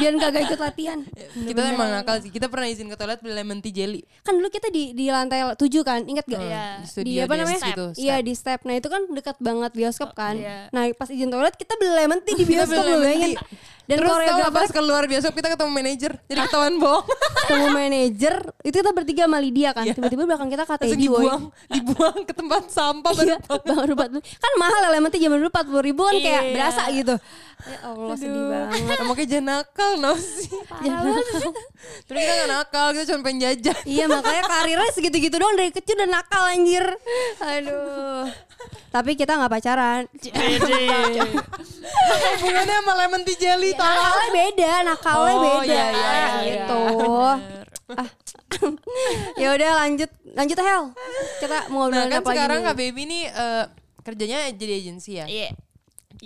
A: biar kagak ikut latihan.
B: Kita kan emang nakal sih. Kita pernah izin ke toilet beli lemon tea jelly.
A: Kan dulu kita di di lantai 7 kan, ingat gak?
C: Iya.
B: Hmm, Di
A: Di
B: studio
A: apa
B: dance
A: namanya?
B: gitu.
A: Iya di step. Nah itu kan dekat banget bioskop kan.
C: Iya.
A: Nah pas izin toilet kita beli lemon tea
B: Oh,
A: di
B: Kita
A: bioskop
B: beli
A: lu
B: lemon
A: bayangin.
B: tea.
A: Dan
B: Terus tau gak
A: koreografer Ah.
B: pas keluar besok kita ketemu manajer Jadi ketahuan bohong
A: ketemu manajer itu kita bertiga sama Lydia kan. Tiba-tiba belakang kita kata
B: Iya. Langsung dibuang Dibuang ke tempat sampah
A: Iya,
B: baru
A: baru empat puluh. Kan mahal ya lemon tea zaman dulu empat puluh ribu kan kayak
C: Iya.
A: berasa gitu. Ya Allah sedih banget.
B: Makanya jangan nakal no sih Tapi kita gak nakal Kita cuma pengen jajan
A: iya makanya karirnya segitu-gitu doang dari kecil udah nakal anjir. Aduh. Tapi kita nggak pacaran.
C: Iya.
B: Hubungannya sama lemon tea jelly
A: Iya.
B: tau
A: Nakalnya beda, nakalnya
B: Oh,
A: beda
B: iya, iya,
C: iya,
A: gitu. Ah. ya udah lanjut lanjut Hel. Kita mau
B: Nah
A: ngobrolin
B: kan
A: apa lagi
B: sekarang
A: nih?
B: Kak Baby nih eh, Kerjanya jadi agensi ya
C: Iya.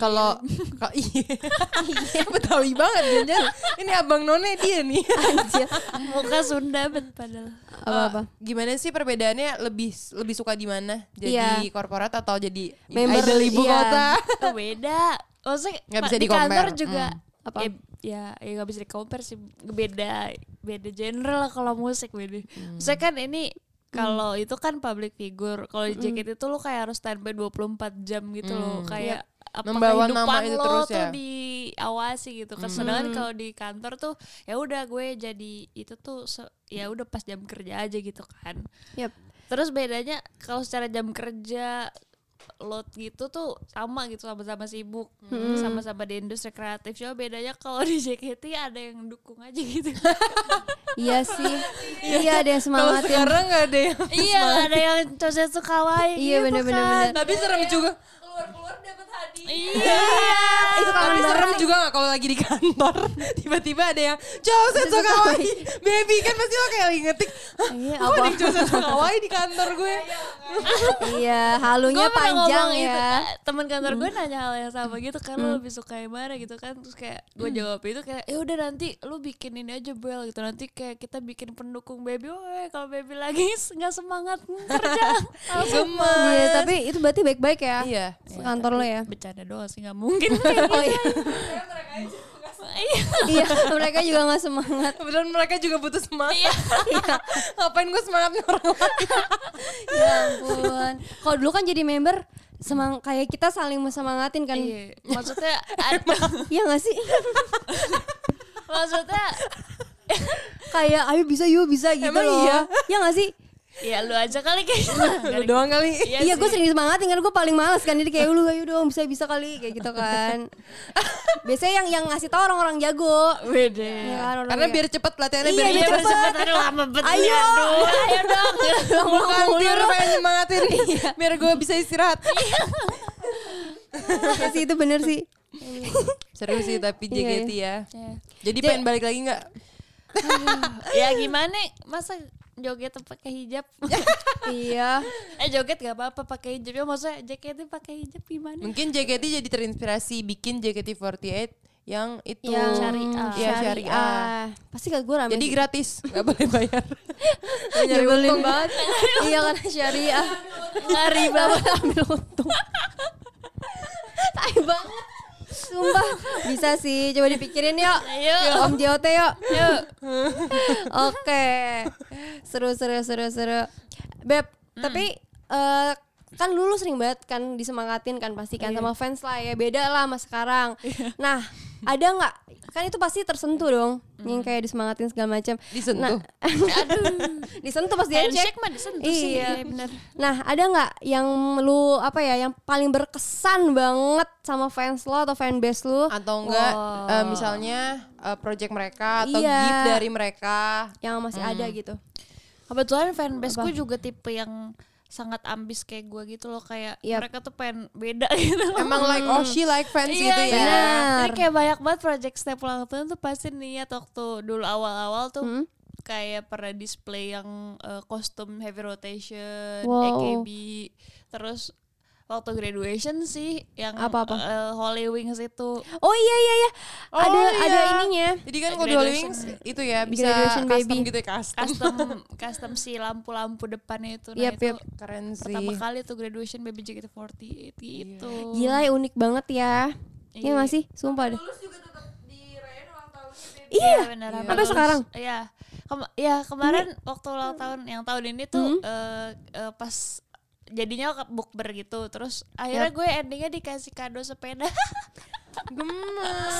B: Kalau kalau- Iya Betawi banget jangan Ini abang none dia nih
A: Anjir.
C: Iya. Muka Sunda bet padahal.
A: Apa-apa.
B: Eh, gimana sih perbedaannya lebih lebih suka di mana jadi
A: Iya.
B: korporat atau jadi
A: Member,
B: idol ibu
A: iya.
B: kota
C: Oh, beda. Maksudnya
B: Nggak
C: Pak,
B: bisa
C: di kantor
B: di-compare.
C: juga
A: Hmm, Apa?
C: Ya, ya, ya gak bisa di compare sih beda beda genre lah kalau musik beda.
B: Hmm.
C: Maksudnya kan ini kalau itu kan public figure, kalau
B: Hmm.
C: di JKT itu lo kayak harus standby 24 jam gitu loh, kayak
B: Iya.
C: apa
B: Membawa
C: kehidupan
B: nama itu
C: lo
B: terus
C: tuh
B: ya. Hmm.
C: diawasi gitu. Kan sedangkan kalau di kantor tuh ya udah gue jadi itu tuh se- ya udah pas jam kerja aja gitu kan.
A: Yap.
C: Terus bedanya kalau secara jam kerja load gitu tuh sama gitu sama-sama sibuk sama-sama di industri kreatif cuma bedanya kalau di JKT ada yang dukung aja gitu
A: Iya sih. Iya ada yang
B: kalau
A: semangatin.
B: sekarang nggak ada yang
C: iya ada yang cosetsu kawaii
A: Iya
C: gitu
A: bener-bener.
C: kan.
A: bener.
B: tapi serem juga
D: keluar-keluar dapat hadiah
C: iya
A: Itu kangen
B: Tapi serem
A: banget.
B: juga gak kalau lagi di kantor Tiba-tiba ada yang Joseph Kawaii Baby kan pasti lo kayak lagi ngetik Hah,
A: Iya,
B: kok ada
A: apa?
B: yang Joseph Kawaii di kantor gue
A: Iya, halunya
C: Gua pernah
A: panjang
C: ngomong
A: ya.
B: gitu.
C: itu, temen kantor gue nanya hal yang sama gitu kan lu lebih suka yang mana gitu kan terus kayak gue jawab itu kayak ya udah nanti lu bikin ini aja bel gitu nanti kayak kita bikin pendukung baby woi kalau baby lagi s- nggak semangat kerja
B: Gemes
A: Iya, tapi itu berarti baik-baik ya.
B: Iya
A: Kantor lo ya.
C: bercanda doang sih nggak mungkin
A: Oh iya.
D: Karena mereka aja nggak suka.
A: iya, mereka juga nggak semangat.
B: Kebetulan mereka juga butuh
A: Iya.
B: semangat Ngapain gue semangatnya orang lain
A: Ya ampun. Kalau dulu kan jadi member semang kayak kita saling semangatin kan.
C: Iya, maksudnya ada,
A: Iya nggak sih?
C: maksudnya
A: kayak ayo bisa yuk bisa gitu
B: Emang
A: loh.
B: iya?
A: Iya nggak sih?
C: Ya lu aja kali kayaknya.
B: Lu doang kali.
A: Iya gue sering semangat kan gue paling males kan jadi kayak lu ayo dong bisa bisa kali kayak gitu kan. Biasanya yang yang ngasih tau orang-orang jago.
C: Beda.
A: Ya kan, orang-orang
B: Karena
A: ya-
B: biar cepet latihannya
A: Iya,
B: biar
C: Iya
A: biar
B: cepet.
A: cepet.
C: cepet aduh lama banget.
A: Ayo,
C: Aduh.
A: ayo dong.
B: Bukan biar pengen nyemangatin. biar gue bisa istirahat.
A: Iya sih itu bener sih.
B: Seru sih tapi
A: Iya,
B: JKT ya.
C: Iya.
B: Jadi pengen balik lagi nggak?
C: Ya gimana masa joget pakai hijab?
A: iya.
C: eh joget gak apa-apa pakai hijab ya maksudnya JKT pakai hijab gimana?
B: Mungkin JKT jadi terinspirasi bikin JKT48 yang itu
C: Ya,
A: Yang
C: Syariah.
B: Iya,
A: ah.
B: syariah.
C: ah.
A: Pasti gak gue rame.
B: Jadi
A: sih.
B: gratis, nggak boleh bayar.
A: Nyari untung banget. iya kan syariah.
C: Ngari
A: Gak boleh ambil untung. Tai banget. Sumpah. Bisa sih. Coba dipikirin yuk.
C: Ayo.
A: Om JOT yuk.
C: Yuk.
A: Oke. Seru seru seru seru. Beb,
C: Hmm.
A: tapi eh, kan dulu sering banget kan disemangatin kan pasti kan
C: Iya.
A: sama fans lah ya. Beda lah sama sekarang. Nah, ada nggak kan itu pasti tersentuh dong
C: Hmm.
A: yang kayak disemangatin segala macam Nah,
B: Disentuh.
C: Aduh.
A: disentuh pasti
C: Handshake
A: dicek
C: mah disentuh sih.
A: Iya.
C: Iya bener.
A: nah ada nggak yang lu apa ya yang paling berkesan banget sama fans lo atau fanbase lu
B: atau enggak eh, misalnya eh, project mereka atau
A: Iya.
B: gift dari mereka
A: yang masih ada gitu
C: Kebetulan fanbase gue juga tipe yang sangat ambis kayak gue gitu loh kayak
A: Yep.
C: mereka tuh pengen beda gitu loh.
B: emang
A: Hmm.
B: like oh she like fans gitu ya
A: Iya, benar.
C: Jadi kayak banyak banget project step ulang tahun tuh pasti niat waktu dulu awal-awal tuh
A: Hmm?
C: kayak pernah display yang eh, kostum heavy rotation,
A: Wow.
C: AKB, terus waktu graduation sih yang
A: Apa-apa?
C: eh, Holy Wings itu.
A: oh iya iya iya
B: Oh,
A: ada
B: iya.
A: ada ininya
B: jadi kan kalau dua
C: Graduation.
B: wings itu ya bisa
A: Graduation
B: custom
A: baby.
B: gitu ya custom,
C: custom custom si lampu-lampu depannya itu nah
A: Yep,
C: itu
A: yep.
B: keren sih
C: pertama kali tuh graduation baby JKT48 gitu
A: Gila ya unik banget ya. Iya gak sih? Sumpah deh.
D: Lulus juga tetap dirayain ulang tahunnya baby.
C: iya benar
B: Iya.
A: Sampai sekarang? Iya.
C: iya Kema- ya kemarin waktu ulang tahun yang tahun ini
A: Hmm.
C: tuh eh, eh, pas jadinya ke- bukber gitu terus akhirnya gue endingnya dikasih kado sepeda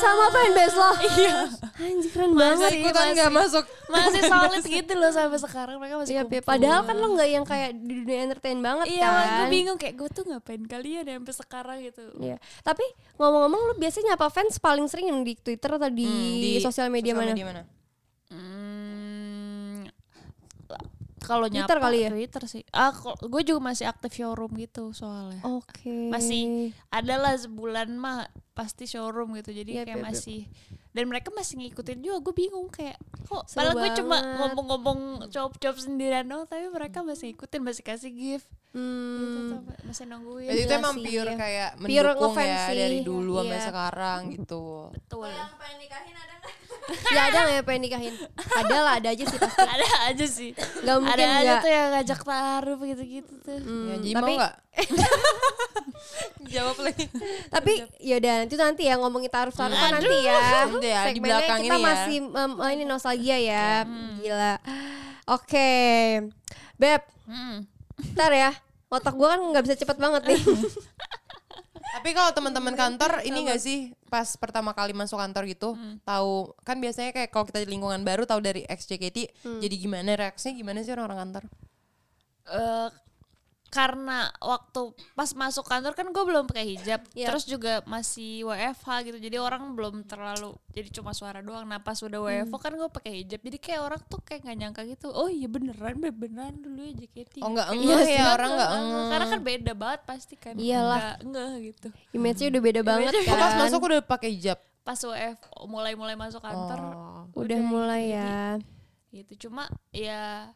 A: Sama fanbase lo. Iya. Anjir keren
B: Masa
A: banget.
B: ikutan
C: masih.
B: nggak masuk
C: masih solid gitu loh sampai sekarang mereka masih
A: Iya, iya.
C: kumpul.
A: padahal kan lo gak yang kayak di dunia entertain banget
C: iya
A: kan.
C: gue bingung kayak gue tuh ngapain kalian ya sampai sekarang gitu
A: Iya. Tapi ngomong-ngomong lu biasanya apa fans paling sering di Twitter atau Hmm, di, sosial media mana?
C: Hmm, kalau nyapa
A: Twitter kali ya?
C: Twitter sih. Ah, gue juga masih aktif showroom gitu soalnya.
A: Oke.
C: Masih ada lah sebulan mah pasti showroom gitu. Jadi
A: Yap,
C: kayak
A: yap, yap.
C: masih dan mereka masih ngikutin juga gue bingung kayak kok
A: Seru
C: padahal gue cuma
A: banget.
C: ngomong-ngomong cop-cop sendirian dong tapi mereka masih ngikutin masih kasih gift gitu
A: Hmm.
C: tuh, masih nungguin
B: Jadi itu
A: Iya
B: emang
A: sih,
B: pure
A: iya.
B: kayak
A: Pure
B: mendukung
A: ngefans
B: ya
A: sih.
B: dari dulu sampai
A: Iya.
B: sekarang gitu.
C: betul
D: Kalau yang pengen nikahin ada nggak?
A: ya ada gak yang pengen nikahin? ada lah, ada aja sih pasti.
C: ada aja sih
A: Gak mungkin
C: ada aja
A: nggak.
C: tuh yang ngajak taruh gitu-gitu tuh
A: Hmm,
B: Ya, jadi
A: tapi
B: mau nggak? Jawab lagi.
A: tapi yaudah nanti nanti ya ngomongin tarif tarif nanti ya.
B: Nanti ya, di
A: Segmennya
B: belakang
A: kita
B: ini ya.
A: masih mem- eh, ini nostalgia ya. Gila. Oke. Beb,
C: Mm.
A: ntar ya. Otak gua kan nggak bisa cepet banget nih.
B: Tapi kalau teman-teman kantor ini enggak sih pas pertama kali masuk kantor gitu
A: Hmm.
B: tahu kan biasanya kayak kalau kita di lingkungan baru tahu dari XJKT
A: Hmm.
B: jadi gimana reaksinya gimana sih orang-orang kantor?
C: eh karena waktu pas masuk kantor kan gue belum pakai hijab
A: Iya.
C: terus juga masih WFH gitu jadi orang belum terlalu jadi cuma suara doang nah pas udah
A: Hmm.
C: WFH kan gue pakai hijab jadi kayak orang tuh kayak nggak nyangka gitu oh iya beneran Beb, beneran dulu ya
A: Iya.
C: JKT
B: Oh, nggak
C: Kayak,
B: ngeh
C: sih,
B: ya, orang nggak
C: ngeh.
B: ngeh.
C: karena kan beda banget pasti kan
A: Iyalah.
C: nggak ngeh gitu
A: Image-nya udah beda banget
B: Oh,
A: kan.
B: pas masuk udah pakai hijab.
C: pas WFH mulai mulai masuk kantor
B: Oh.
A: udah mulai ya.
C: gitu cuma ya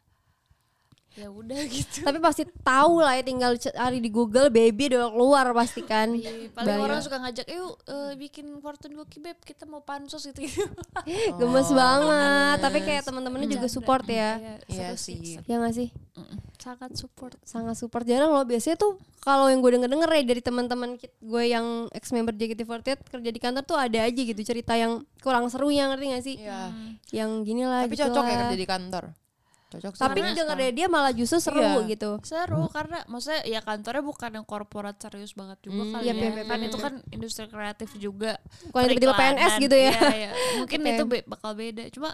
C: ya udah gitu
A: Tapi pasti tahu lah ya tinggal cari di Google baby udah keluar pasti kan.
C: Iya, paling
A: Bayar.
C: orang suka ngajak yuk eh, bikin fortune goki beb kita mau pansos gitu gitu
A: Gemes banget. Tapi kayak teman-temannya juga support ya.
B: Iya
C: seru
B: sih.
A: Ya nggak sih?
C: Mm-mm. sangat support
A: sangat support jarang loh biasanya tuh kalau yang gue denger denger ya dari teman-teman kit- gue yang ex member JKT48 kerja di kantor tuh ada aja gitu cerita yang kurang seru yang ngerti gak sih
B: Iya.
C: Hmm.
A: yang gini lah
B: Tapi
A: gitu
B: cocok ya
A: lah.
B: kerja di kantor. Cocok sih.
A: tapi denger dari dia malah justru seru
B: Iya.
A: gitu
C: seru karena maksudnya ya kantornya bukan yang korporat serius banget juga kali
A: Iya,
C: ya
A: iya, iya,
C: kan
A: iya.
C: itu kan industri kreatif juga
A: Bukan yang tiba-tiba
B: iya.
C: periklanan.
A: PNS gitu ya.
C: Iya, iya. mungkin
A: Oke.
C: itu be- bakal beda cuma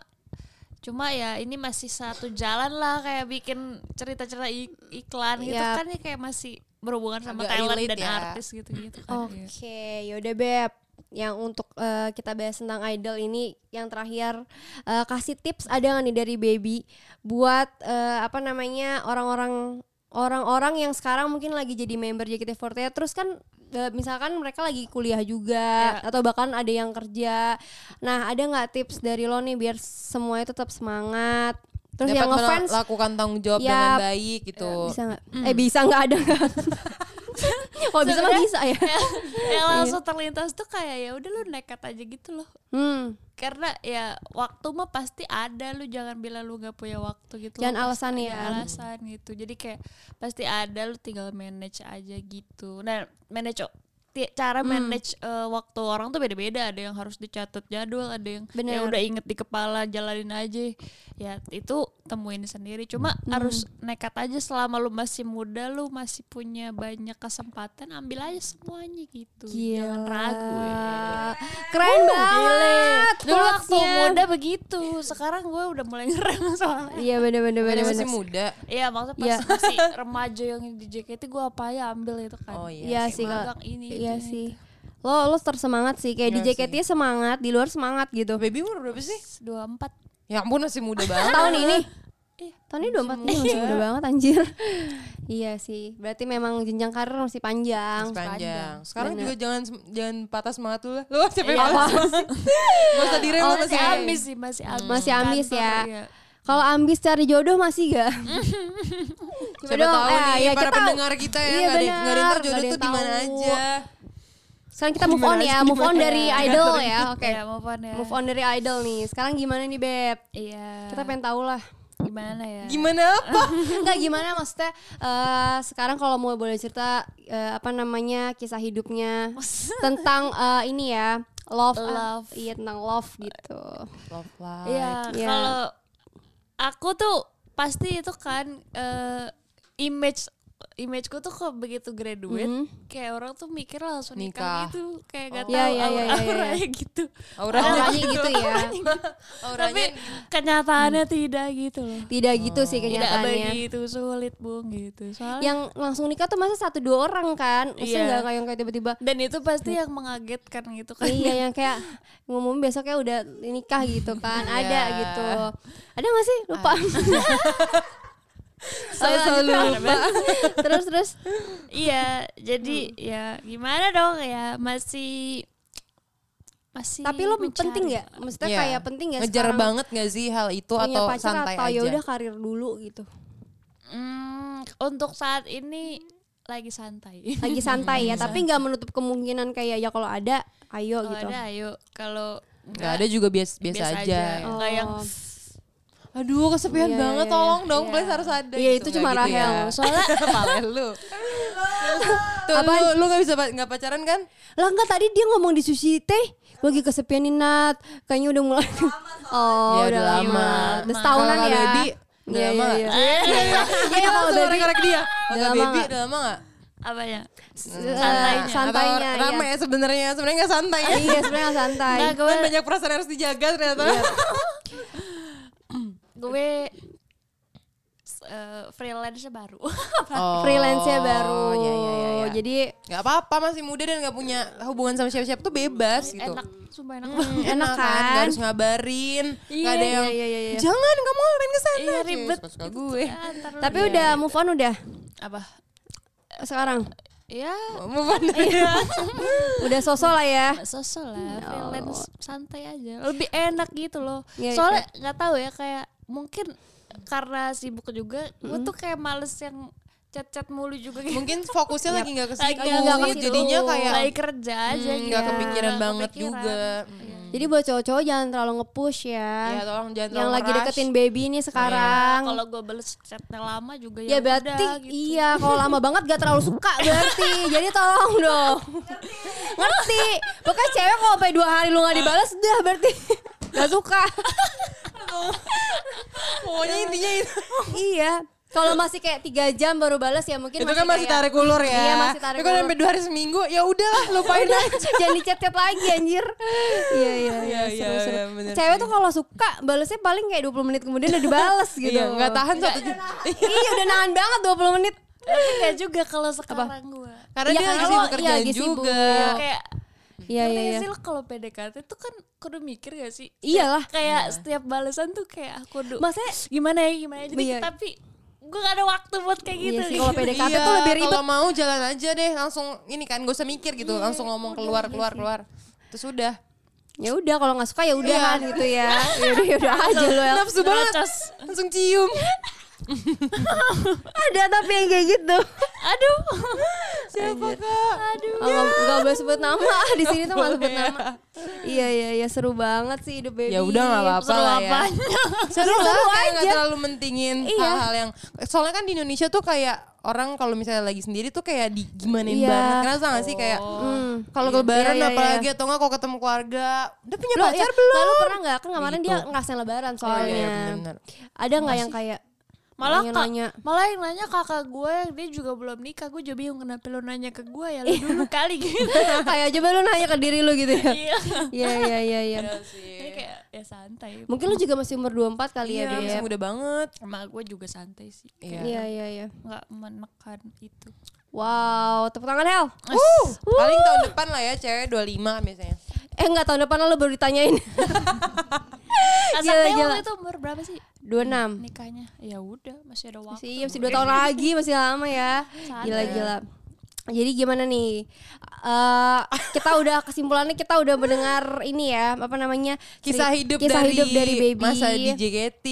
C: Cuma ya ini masih satu jalan lah kayak bikin cerita-cerita ik- iklan gitu
A: Yap.
C: kan ya kayak masih berhubungan sama
B: Agak
C: talent
B: relate
C: dan
B: ya.
C: artis gitu-gitu kan.
A: Oke, yaudah beb. Yang untuk eh, kita bahas tentang idol ini, yang terakhir eh, kasih tips ada nggak nih dari baby buat eh, apa namanya orang-orang orang-orang yang sekarang mungkin lagi jadi member JKT48 terus kan eh, misalkan mereka lagi kuliah juga atau bahkan ada yang kerja. Nah, ada nggak tips dari lo nih biar semuanya tetap semangat. Terus yang
B: Dapat
A: ngefans
B: melakukan tanggung jawab
A: Yap.
B: dengan baik gitu.
A: bisa nggak? Eh bisa nggak ada nggak? oh bisa mah
C: Sebenarnya-
A: bisa ya.
C: yang langsung terlintas tuh kayak ya udah lu nekat aja gitu loh.
A: Hmm.
C: Karena ya waktu mah pasti ada lu jangan bilang lu gak punya waktu gitu.
A: Jangan
C: Lu
A: alasan
C: pasti
A: ya.
C: ada Alasan gitu. Jadi kayak pasti ada lu tinggal manage aja gitu. Nah, manage ti- cara manage eh, waktu orang tuh beda-beda. Ada yang harus dicatat jadwal, ada yang
A: Bener.
C: ya udah inget di kepala jalanin aja. Ya itu temuin sendiri. Cuma harus nekat aja selama lu masih muda, lu masih punya banyak kesempatan, ambil aja semuanya gitu. Jangan ragu. ya.
A: Keren banget.
C: Gile. Dulu waktu
A: quotes-nya.
C: muda begitu, sekarang gue udah mulai ngerem soalnya.
A: Iya bener bener
B: Bukannya
A: bener. bener.
B: masih muda.
C: Iya maksudnya pas
A: Iya.
C: masih remaja yang di JKT gue apa ya ambil itu kan.
B: Oh iya.
A: Iya sih kalau
C: Magang ini.
A: Iya
C: itu,
A: sih. Lo lo tersemangat sih kayak di
B: Iya
A: JKT semangat, di luar semangat gitu.
B: Baby umur berapa sih?
C: itu. Dua empat.
B: Ya ampun masih muda banget.
A: Tahun ini.
C: Iya.
A: Tahun ini 24 nih ya, masih muda banget anjir. iya sih. Berarti memang jenjang karir masih panjang.
B: Sepanjang. Sekarang
A: Bener.
B: juga jangan jangan patah semangat lu lah. Lu siapa yang
C: Iya.
B: patah sih? Gak usah direm lu
A: Oke.
B: Iya, masih Hmm.
C: Oh, Masih
B: ada.
C: ambis sih masih ambis.
A: Masih
C: Kantor,
A: ambis ya.
C: iya.
A: Kalau ambis cari jodoh masih gak? Coba
B: Siapa tahu
A: eh,
B: nih
A: ya
B: para
A: kita-
B: pendengar kita ya
A: Iya,
B: nggak ada nggak ada yang tahu
A: benar,
B: jodoh
A: nggak ada
B: tuh di
A: yang
B: mana
A: tahu. Iya.
B: aja.
A: Sekarang kita move on
B: Gimana
A: ya,
B: sih,
A: move on
B: gimana?
A: dari idol ya. Oke.
C: Iya, move on ya.
A: Move on dari idol nih. Sekarang gimana nih, Beb?
C: Iya.
A: Kita pengen tahu lah.
C: gimana ya?
B: Gimana apa?
A: Enggak gimana maksudnya eh, sekarang kalau mau boleh cerita eh, apa namanya kisah hidupnya tentang eh, ini ya love, ah,
C: Love.
A: iya tentang love gitu
B: Love life.
C: Iya,
A: Iya.
C: kalau aku tuh pasti itu kan eh, image imageku tuh kok begitu graduate
A: Mhm.
C: kayak orang tuh mikir langsung
B: Nikah.
C: nikah, gitu kayak gak
A: Oh.
C: tahu
A: Iya, iya, iya, iya, iya.
C: auranya gitu
B: Auranya
A: orangnya gitu ya
C: tapi
B: auranya
C: kenyataannya
A: Hmm.
C: tidak gitu loh
A: tidak gitu sih
C: tidak
A: kenyataannya
C: begitu sulit bung gitu soalnya
A: yang langsung nikah tuh masa satu dua orang kan Maksudnya
C: Iya.
A: nggak kayak yang kayak tiba-tiba
C: dan itu pasti yang mengagetkan gitu kan
A: iya yang kayak ngomong besoknya udah nikah gitu kan
B: Iya.
A: ada gitu ada nggak sih lupa
B: Saya
A: Oh,
B: selalu
A: lanjut, terus terus
C: iya
A: Hmm.
C: jadi ya gimana dong ya masih masih
A: tapi lo
C: mencari.
A: penting nggak maksudnya
B: Iya.
A: kayak penting nggak
B: Ngejar
A: sekarang
B: banget gak sih hal itu
A: punya
B: atau
A: pacar
B: santai
A: atau ya
B: aja?
A: udah karir dulu gitu
C: Hmm, untuk saat ini lagi santai.
A: lagi santai
B: Iya.
A: ya tapi nggak menutup kemungkinan kayak ya kalau ada ayo
C: Kalau
A: gitu
C: ada ayo, kalau
B: Gak ada juga biasa biasa aja.
A: Oh.
C: Enggak yang
B: Aduh kesepian
A: Iya,
B: banget
A: iya, iya.
B: tolong dong
C: Iya.
B: please harus ada. gitu.
A: Iya, itu cuma
B: Nggak ya.
A: Rahel.
B: Soalnya Pale lu. Tuh lu lu gak bisa pa- nggak pacaran kan?
A: lah enggak tadi dia ngomong di sushi teh gua lagi kesepian nih Nat kayaknya udah mulai
B: Ya,
A: oh
B: udah lama.
A: udah setahunan
B: Kalau
A: ya
B: baby, udah
A: Iya,
B: lama
A: iya,
B: nggak? Hmm.
A: iya. Iya, iya. Iya,
B: Kita
A: kalau
B: langsung
A: baby
B: korek-korek dia.
A: Udah
B: Kalau
A: lama
B: baby
A: nggak?
B: udah lama gak?
C: apa ya?
A: eh,
C: Santainya.
A: santainya
B: Atau ramai
A: iya.
B: ya sebenarnya sebenarnya nggak santai ya.
A: iya sebenarnya santai
C: Enggak,
B: Kan
C: gue
B: banyak perasaan harus dijaga ternyata.
A: Iya.
C: gue s- eh, freelance baru.
B: Oh,
A: freelance-nya baru
B: Iya, iya, iya, iya.
A: jadi
B: Gak apa-apa masih muda dan gak punya hubungan sama siapa-siapa tuh bebas gitu.
C: enak, sumpah enak. banget.
B: Hmm,
A: Enak kan?
B: Gak harus ngabarin.
A: Iya,
B: gak ada
A: iya,
B: yang
A: iya, iya, iya.
B: jangan kamu ngelarin ke sana.
C: Iya ribet.
B: Suka
C: gitu
B: gue.
C: tuh, ya, ntar lu-
B: iya,
A: tapi udah move on udah
C: apa?
A: sekarang
C: Ya
B: Move on dari-
A: udah sosok lah ya
B: Hmm.
C: sosok lah freelance santai aja lebih enak gitu loh
B: ya,
A: Iya,
C: soalnya nggak tahu ya kayak mungkin karena sibuk juga gue tuh kayak males yang chat-chat mulu juga gitu
B: Hmm? Mungkin fokusnya lagi gak ke
C: Lagi
B: situ.
C: nggak ke situ.
B: Jadinya kayak
C: lagi kerja aja
B: hmm,
C: gitu
B: gak kepikiran
C: Nggak
B: banget
C: kepikiran.
B: juga.
A: Jadi buat cowok-cowok jangan terlalu nge-push ya.
B: Ya tolong jangan
A: yang
B: terlalu Iya,
A: lagi
B: rush.
A: deketin baby ini
C: Nah,
A: sekarang.
C: kalau gue bales chatnya lama juga
A: ya
C: ya,
A: berarti
C: udah, gitu.
A: iya kalau lama banget gak terlalu suka berarti. Jadi tolong dong. Ngerti. Pokoknya cewek kalau sampai dua hari lu gak dibalas udah berarti gak suka.
B: Pokoknya intinya itu.
A: iya. Kalau masih kayak tiga jam baru balas ya mungkin
B: itu kan masih
A: kayak-
B: tarik ulur ya.
A: Iya, masih tarik
B: Tapi kalau
A: ulur.
B: sampai dua hari seminggu ya udahlah lupain
A: Udah, jangan dicet-cet lagi anjir. Iya iya iya,
B: Iya, iya,
A: seru-seru.
B: iya, bener. bener.
A: Cewek tuh kalau suka balesnya paling kayak 20 menit kemudian udah dibales gitu.
B: Iya, nggak tahan satu jam.
A: Iya udah nahan banget 20 menit.
C: Tapi gak juga kalau sekarang gue.
B: Karena
A: Iya,
B: dia
A: karena
B: lagi
A: lo-
B: sibuk
A: iya,
B: kerjaan
A: lagi sibuk.
B: juga.
A: Iya.
C: Kayak
A: Iya
B: Ya,
A: iya
C: Ngerti
A: iya.
C: sih lo kalau PDKT tuh kan kudu mikir gak sih?
A: Iyalah.
C: Kayak setiap balasan tuh kayak aku kudu
A: Iya. Maksudnya
C: gimana ya gimana ya. Jadi
A: Iya.
C: tapi gue gak ada waktu buat kayak
A: Iya
C: gitu.
A: sih, kalau PDKT
B: Iya,
A: tuh lebih ribet.
B: Kalau mau jalan aja deh, langsung ini kan gak usah mikir gitu, langsung ngomong keluar keluar keluar. Terus udah.
A: Ya udah kalau nggak suka ya udahan gitu ya. Ya udah ya udah aja lo. ya.
B: Nafsu banget. Langsung cium.
A: Ada tapi yang kayak gitu.
C: Aduh.
B: Siapa kak?
C: Aduh.
A: Oh, nggak- nggak boleh sebut nama di sini tuh nggak sebut nama. Iya iya iya seru banget sih hidup baby. Iya,
B: Ya udah nggak apa-apa
C: Seru
B: lah ya.
C: apanya.
B: Seru lah, kayak nggak
A: aja. Iya.
B: terlalu mentingin hal-hal yang. Soalnya kan di Indonesia tuh kayak orang kalau misalnya lagi sendiri tuh kayak di gimanain
A: Iya.
B: banget. Kerasa gak sih kayak
A: Hmm.
B: kalau
A: Iya,
B: lebaran
A: iya, iya.
B: apalagi atau nggak kalau ketemu keluarga, udah punya
A: Lo,
B: pacar
A: ya,
B: belum?
A: Lalu pernah nggak kan kemarin dia
B: Gitu.
A: ngerasain lebaran
B: Iya,
A: soalnya.
B: iya, bener-bener.
A: Ada nggak yang kayak
C: Malah
A: nanya,
C: kak,
A: nanya.
C: malah yang nanya kakak gue dia juga belum nikah gue jadi bingung kenapa lo nanya ke gue ya
A: Iya.
C: lo dulu kali gitu.
A: Nah, kayak aja lu nanya ke diri lu gitu ya.
C: Iya.
A: Iya iya iya iya.
C: Jadi kayak ya santai.
A: Mungkin lu juga masih umur 24 kali ya,
C: Iya,
A: Beb.
B: Masih muda banget.
C: Emak gue juga santai sih.
B: Iya.
A: Iya iya iya.
C: Nggak menekan itu.
A: Wow, tepuk tangan Hel.
B: Paling tahun depan lah ya cewek 25 kan biasanya.
A: Eh nggak tahun depan lu baru ditanyain.
C: Nah,
A: Gila,
C: sampai
A: gila.
C: waktu itu umur berapa sih
A: 26.
C: nikahnya? Ya udah, masih ada waktu.
A: Masih iya, masih 2 tahun lagi, masih lama ya. Gila gila. Jadi gimana nih? Eh kita udah kesimpulannya kita udah mendengar ini ya, apa namanya?
B: Kisah
A: ceri-
B: hidup,
A: kisah
B: dari,
A: hidup dari baby.
B: masa di JKT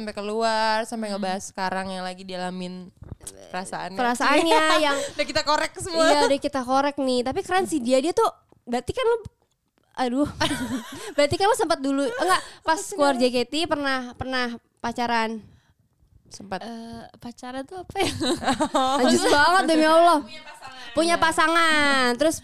B: sampai keluar sampai ngebahas
A: Hmm.
B: sekarang yang lagi dialamin perasaannya.
A: perasaannya yang
B: Udah kita korek semua.
A: Iya udah kita korek nih Tapi keren sih dia Dia tuh Berarti kan lo Aduh Berarti kan lo sempat dulu Enggak Pas keluar JKT Pernah Pernah pacaran
B: Sempat.
C: Eh, pacaran tuh apa ya?
B: Oh.
A: Anjus banget demi Allah Punya pasangan Punya pasangan Terus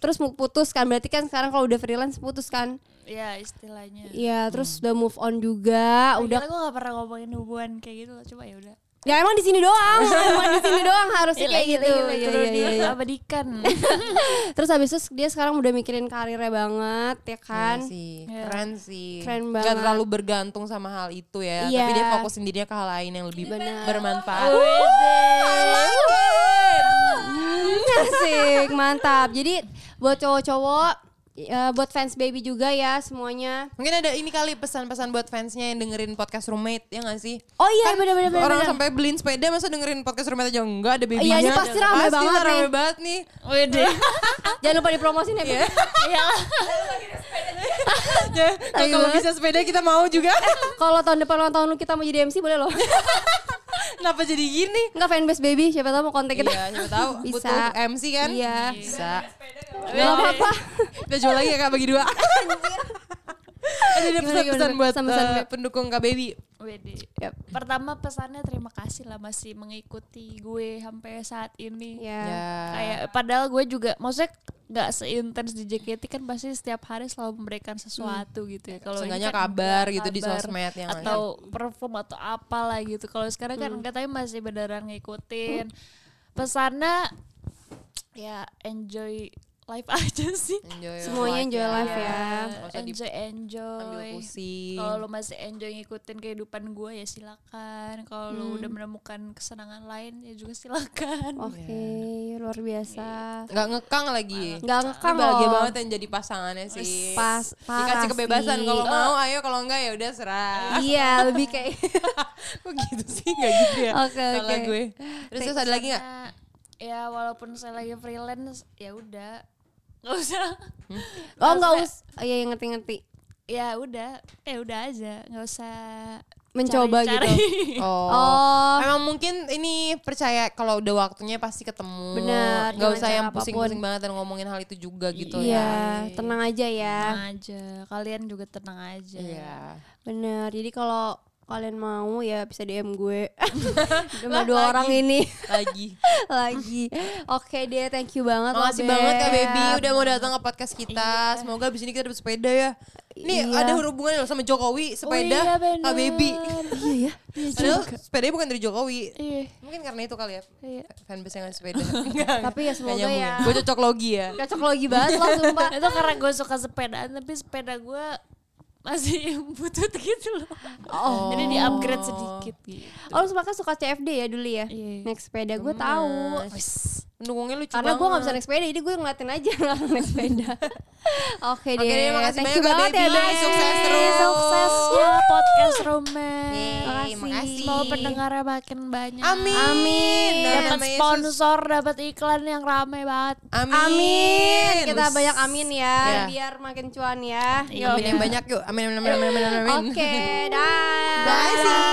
A: Terus mau putus kan Berarti kan sekarang kalau udah freelance putus kan
C: ya istilahnya.
A: Iya terus udah move on juga
C: Udah
A: Udah
C: gue gak pernah ngomongin hubungan kayak gitu loh, coba ya udah.
A: Ya emang di sini doang Emang di sini doang harusnya kayak
C: Gila,
A: gitu
C: gila, gila,
A: Iya,
C: kudu
A: iya, iya, iya.
C: diabadikan.
A: Terus habis itu dia sekarang udah mikirin karirnya banget Ya kan
B: Iya sih.
C: Iya.
B: Keren sih. Gak
A: Keren banget.
B: terlalu bergantung sama hal itu ya.
A: Iya.
B: Tapi dia fokus sendirinya ke hal lain yang lebih
A: Benar.
B: bermanfaat.
A: Hmm, Asik, mantap. Jadi buat cowok-cowok, eh, buat fans baby juga ya semuanya.
B: Mungkin ada ini kali pesan-pesan buat fansnya yang dengerin podcast roommate ya gak sih?
A: Oh iya, bener-bener.
B: Orang sampai beliin sepeda masa dengerin podcast roommate aja enggak ada babynya.
A: Iya, ini pasti rame banget
B: rame
A: nih.
B: banget nih.
C: Wede.
B: Ah.
A: Jangan lupa dipromosin ya. Beb.
B: Iya.
C: Ya.
B: Ya, kalau- kalau bisa sepeda kita mau juga.
A: Kalau tahun depan ulang tahun lu kita mau jadi MC boleh loh.
B: Kenapa jadi gini?
A: Enggak fanbase baby, siapa tahu mau kontak kita.
B: Iya, siapa tahu
A: Bisa.
B: butuh Iya. MC kan?
A: Iya.
B: Bisa.
A: Gak apa-apa.
B: Kita jual lagi ya Kak bagi dua. Ada ada
A: Gimana,
B: pesan-pesan
A: gimana?
B: buat
A: Pesan-pesan,
B: eh,
A: Beb.
B: pendukung Kak Baby.
C: Wede.
A: Yap.
C: Pertama pesannya terima kasih lah masih mengikuti gue sampai saat ini.
A: Ya.
B: Iya.
C: kayak padahal gue juga maksudnya nggak seintens di JKT kan pasti setiap hari selalu memberikan
A: Hmm.
C: sesuatu gitu ya kalau ini
B: Seenggaknya
C: kan
B: kabar
C: enggak,
B: gitu di
C: kabar
B: sosmed yang ada.
C: atau perform atau apalah gitu kalau sekarang
B: Hmm.
C: kan enggak tapi masih beneran ngikutin pesannya ya enjoy life aja sih
B: Enjoy
A: Semuanya
B: life
A: enjoy life ya.
B: Iya. Nggak usah
C: enjoy
B: Ambil
C: enjoy
B: pusing.
C: kalau lo masih enjoy ngikutin kehidupan gue ya silakan kalau lo
B: Hmm.
C: udah menemukan kesenangan lain ya juga silakan
B: Oh,
A: Oke, luar biasa.
B: Nggak ngekang lagi.
A: Enggak
B: Iya. Ini
A: ngekang
B: bahagia
A: loh.
B: banget ya. yang jadi pasangannya sih. Iya.
A: Pas, parah
B: Dikasih kebebasan
A: sih.
B: kalau mau ayo kalau enggak ya udah serah.
A: Iya, lebih kayak
B: Kok gitu sih enggak gitu ya?
A: Oke,
B: Salah
A: oke.
B: gue. Terus, terus ada lagi enggak?
C: Karena, ya walaupun saya lagi freelance ya udah nggak usah
B: Hmm.
A: Oh, enggak us. Oh, iya, iya, ngerti-ngerti.
C: ya udah ya udah aja nggak usah
A: Mencoba
C: cari-cari.
A: gitu. Oh.
B: Emang mungkin ini percaya kalau udah waktunya pasti ketemu.
A: Benar,
B: Gak
A: dengan
B: usah
A: cara
B: yang
A: apapun.
B: pusing-pusing banget dan ngomongin hal itu juga gitu
A: Iya,
B: ya.
A: tenang aja ya.
C: tenang aja kalian juga tenang aja
B: Iya.
A: Bener, jadi kalau kalian mau ya bisa DM gue Sama dua orang ini
B: Lagi.
A: lagi Oke deh, thank you banget loh,
B: Makasih banget ya
A: Beb.
B: baby udah mau datang ke podcast kita. Semoga abis ini kita dapat sepeda ya. Nih
A: Iya. Oh
B: ada hubungannya loh sama Jokowi sepeda
C: iya,
B: Kak baby.
A: Iya ya
B: Padahal sepedanya bukan dari Jokowi.
C: iya
B: Mungkin karena itu kali ya.
C: iya
B: Fanbase yang ada sepeda. Enggak.
A: Tapi ya semoga ya.
B: Gue cocok logi ya.
A: Cocok lagi banget loh sumpah
C: itu karena gue suka sepedaan tapi sepeda gue masih butut gitu loh.
A: Oh.
C: Jadi di upgrade sedikit gitu.
A: Oh lu suka suka CFD ya dulu ya?
C: Iya.
A: Naik sepeda gue tahu.
B: Pendukungnya lucu
A: Karena gue
B: banget.
A: gak bisa naik sepeda, jadi gue ngeliatin aja orang naik sepeda. Oke deh,
B: Oke deh, makasih
A: thank you
B: banyak ya,
A: banget ya,
B: Baby.
A: Beb.
B: Sukses terus.
C: Suksesnya podcast Roman.
B: Yeay,
A: Makasih.
B: makasih.
C: Semoga pendengarnya makin banyak.
B: Amin.
A: Amin.
B: Dalam
C: Dapat
B: nama Yesus.
C: sponsor, dapat iklan yang rame banget.
B: Amin.
A: Amin. Kita banyak amin ya,
B: Iya.
A: biar makin cuan ya.
C: Yo.
B: Amin yang banyak yuk. Amin amin amin amin amin. amin.
A: Oke, dah.
B: Bye. See you.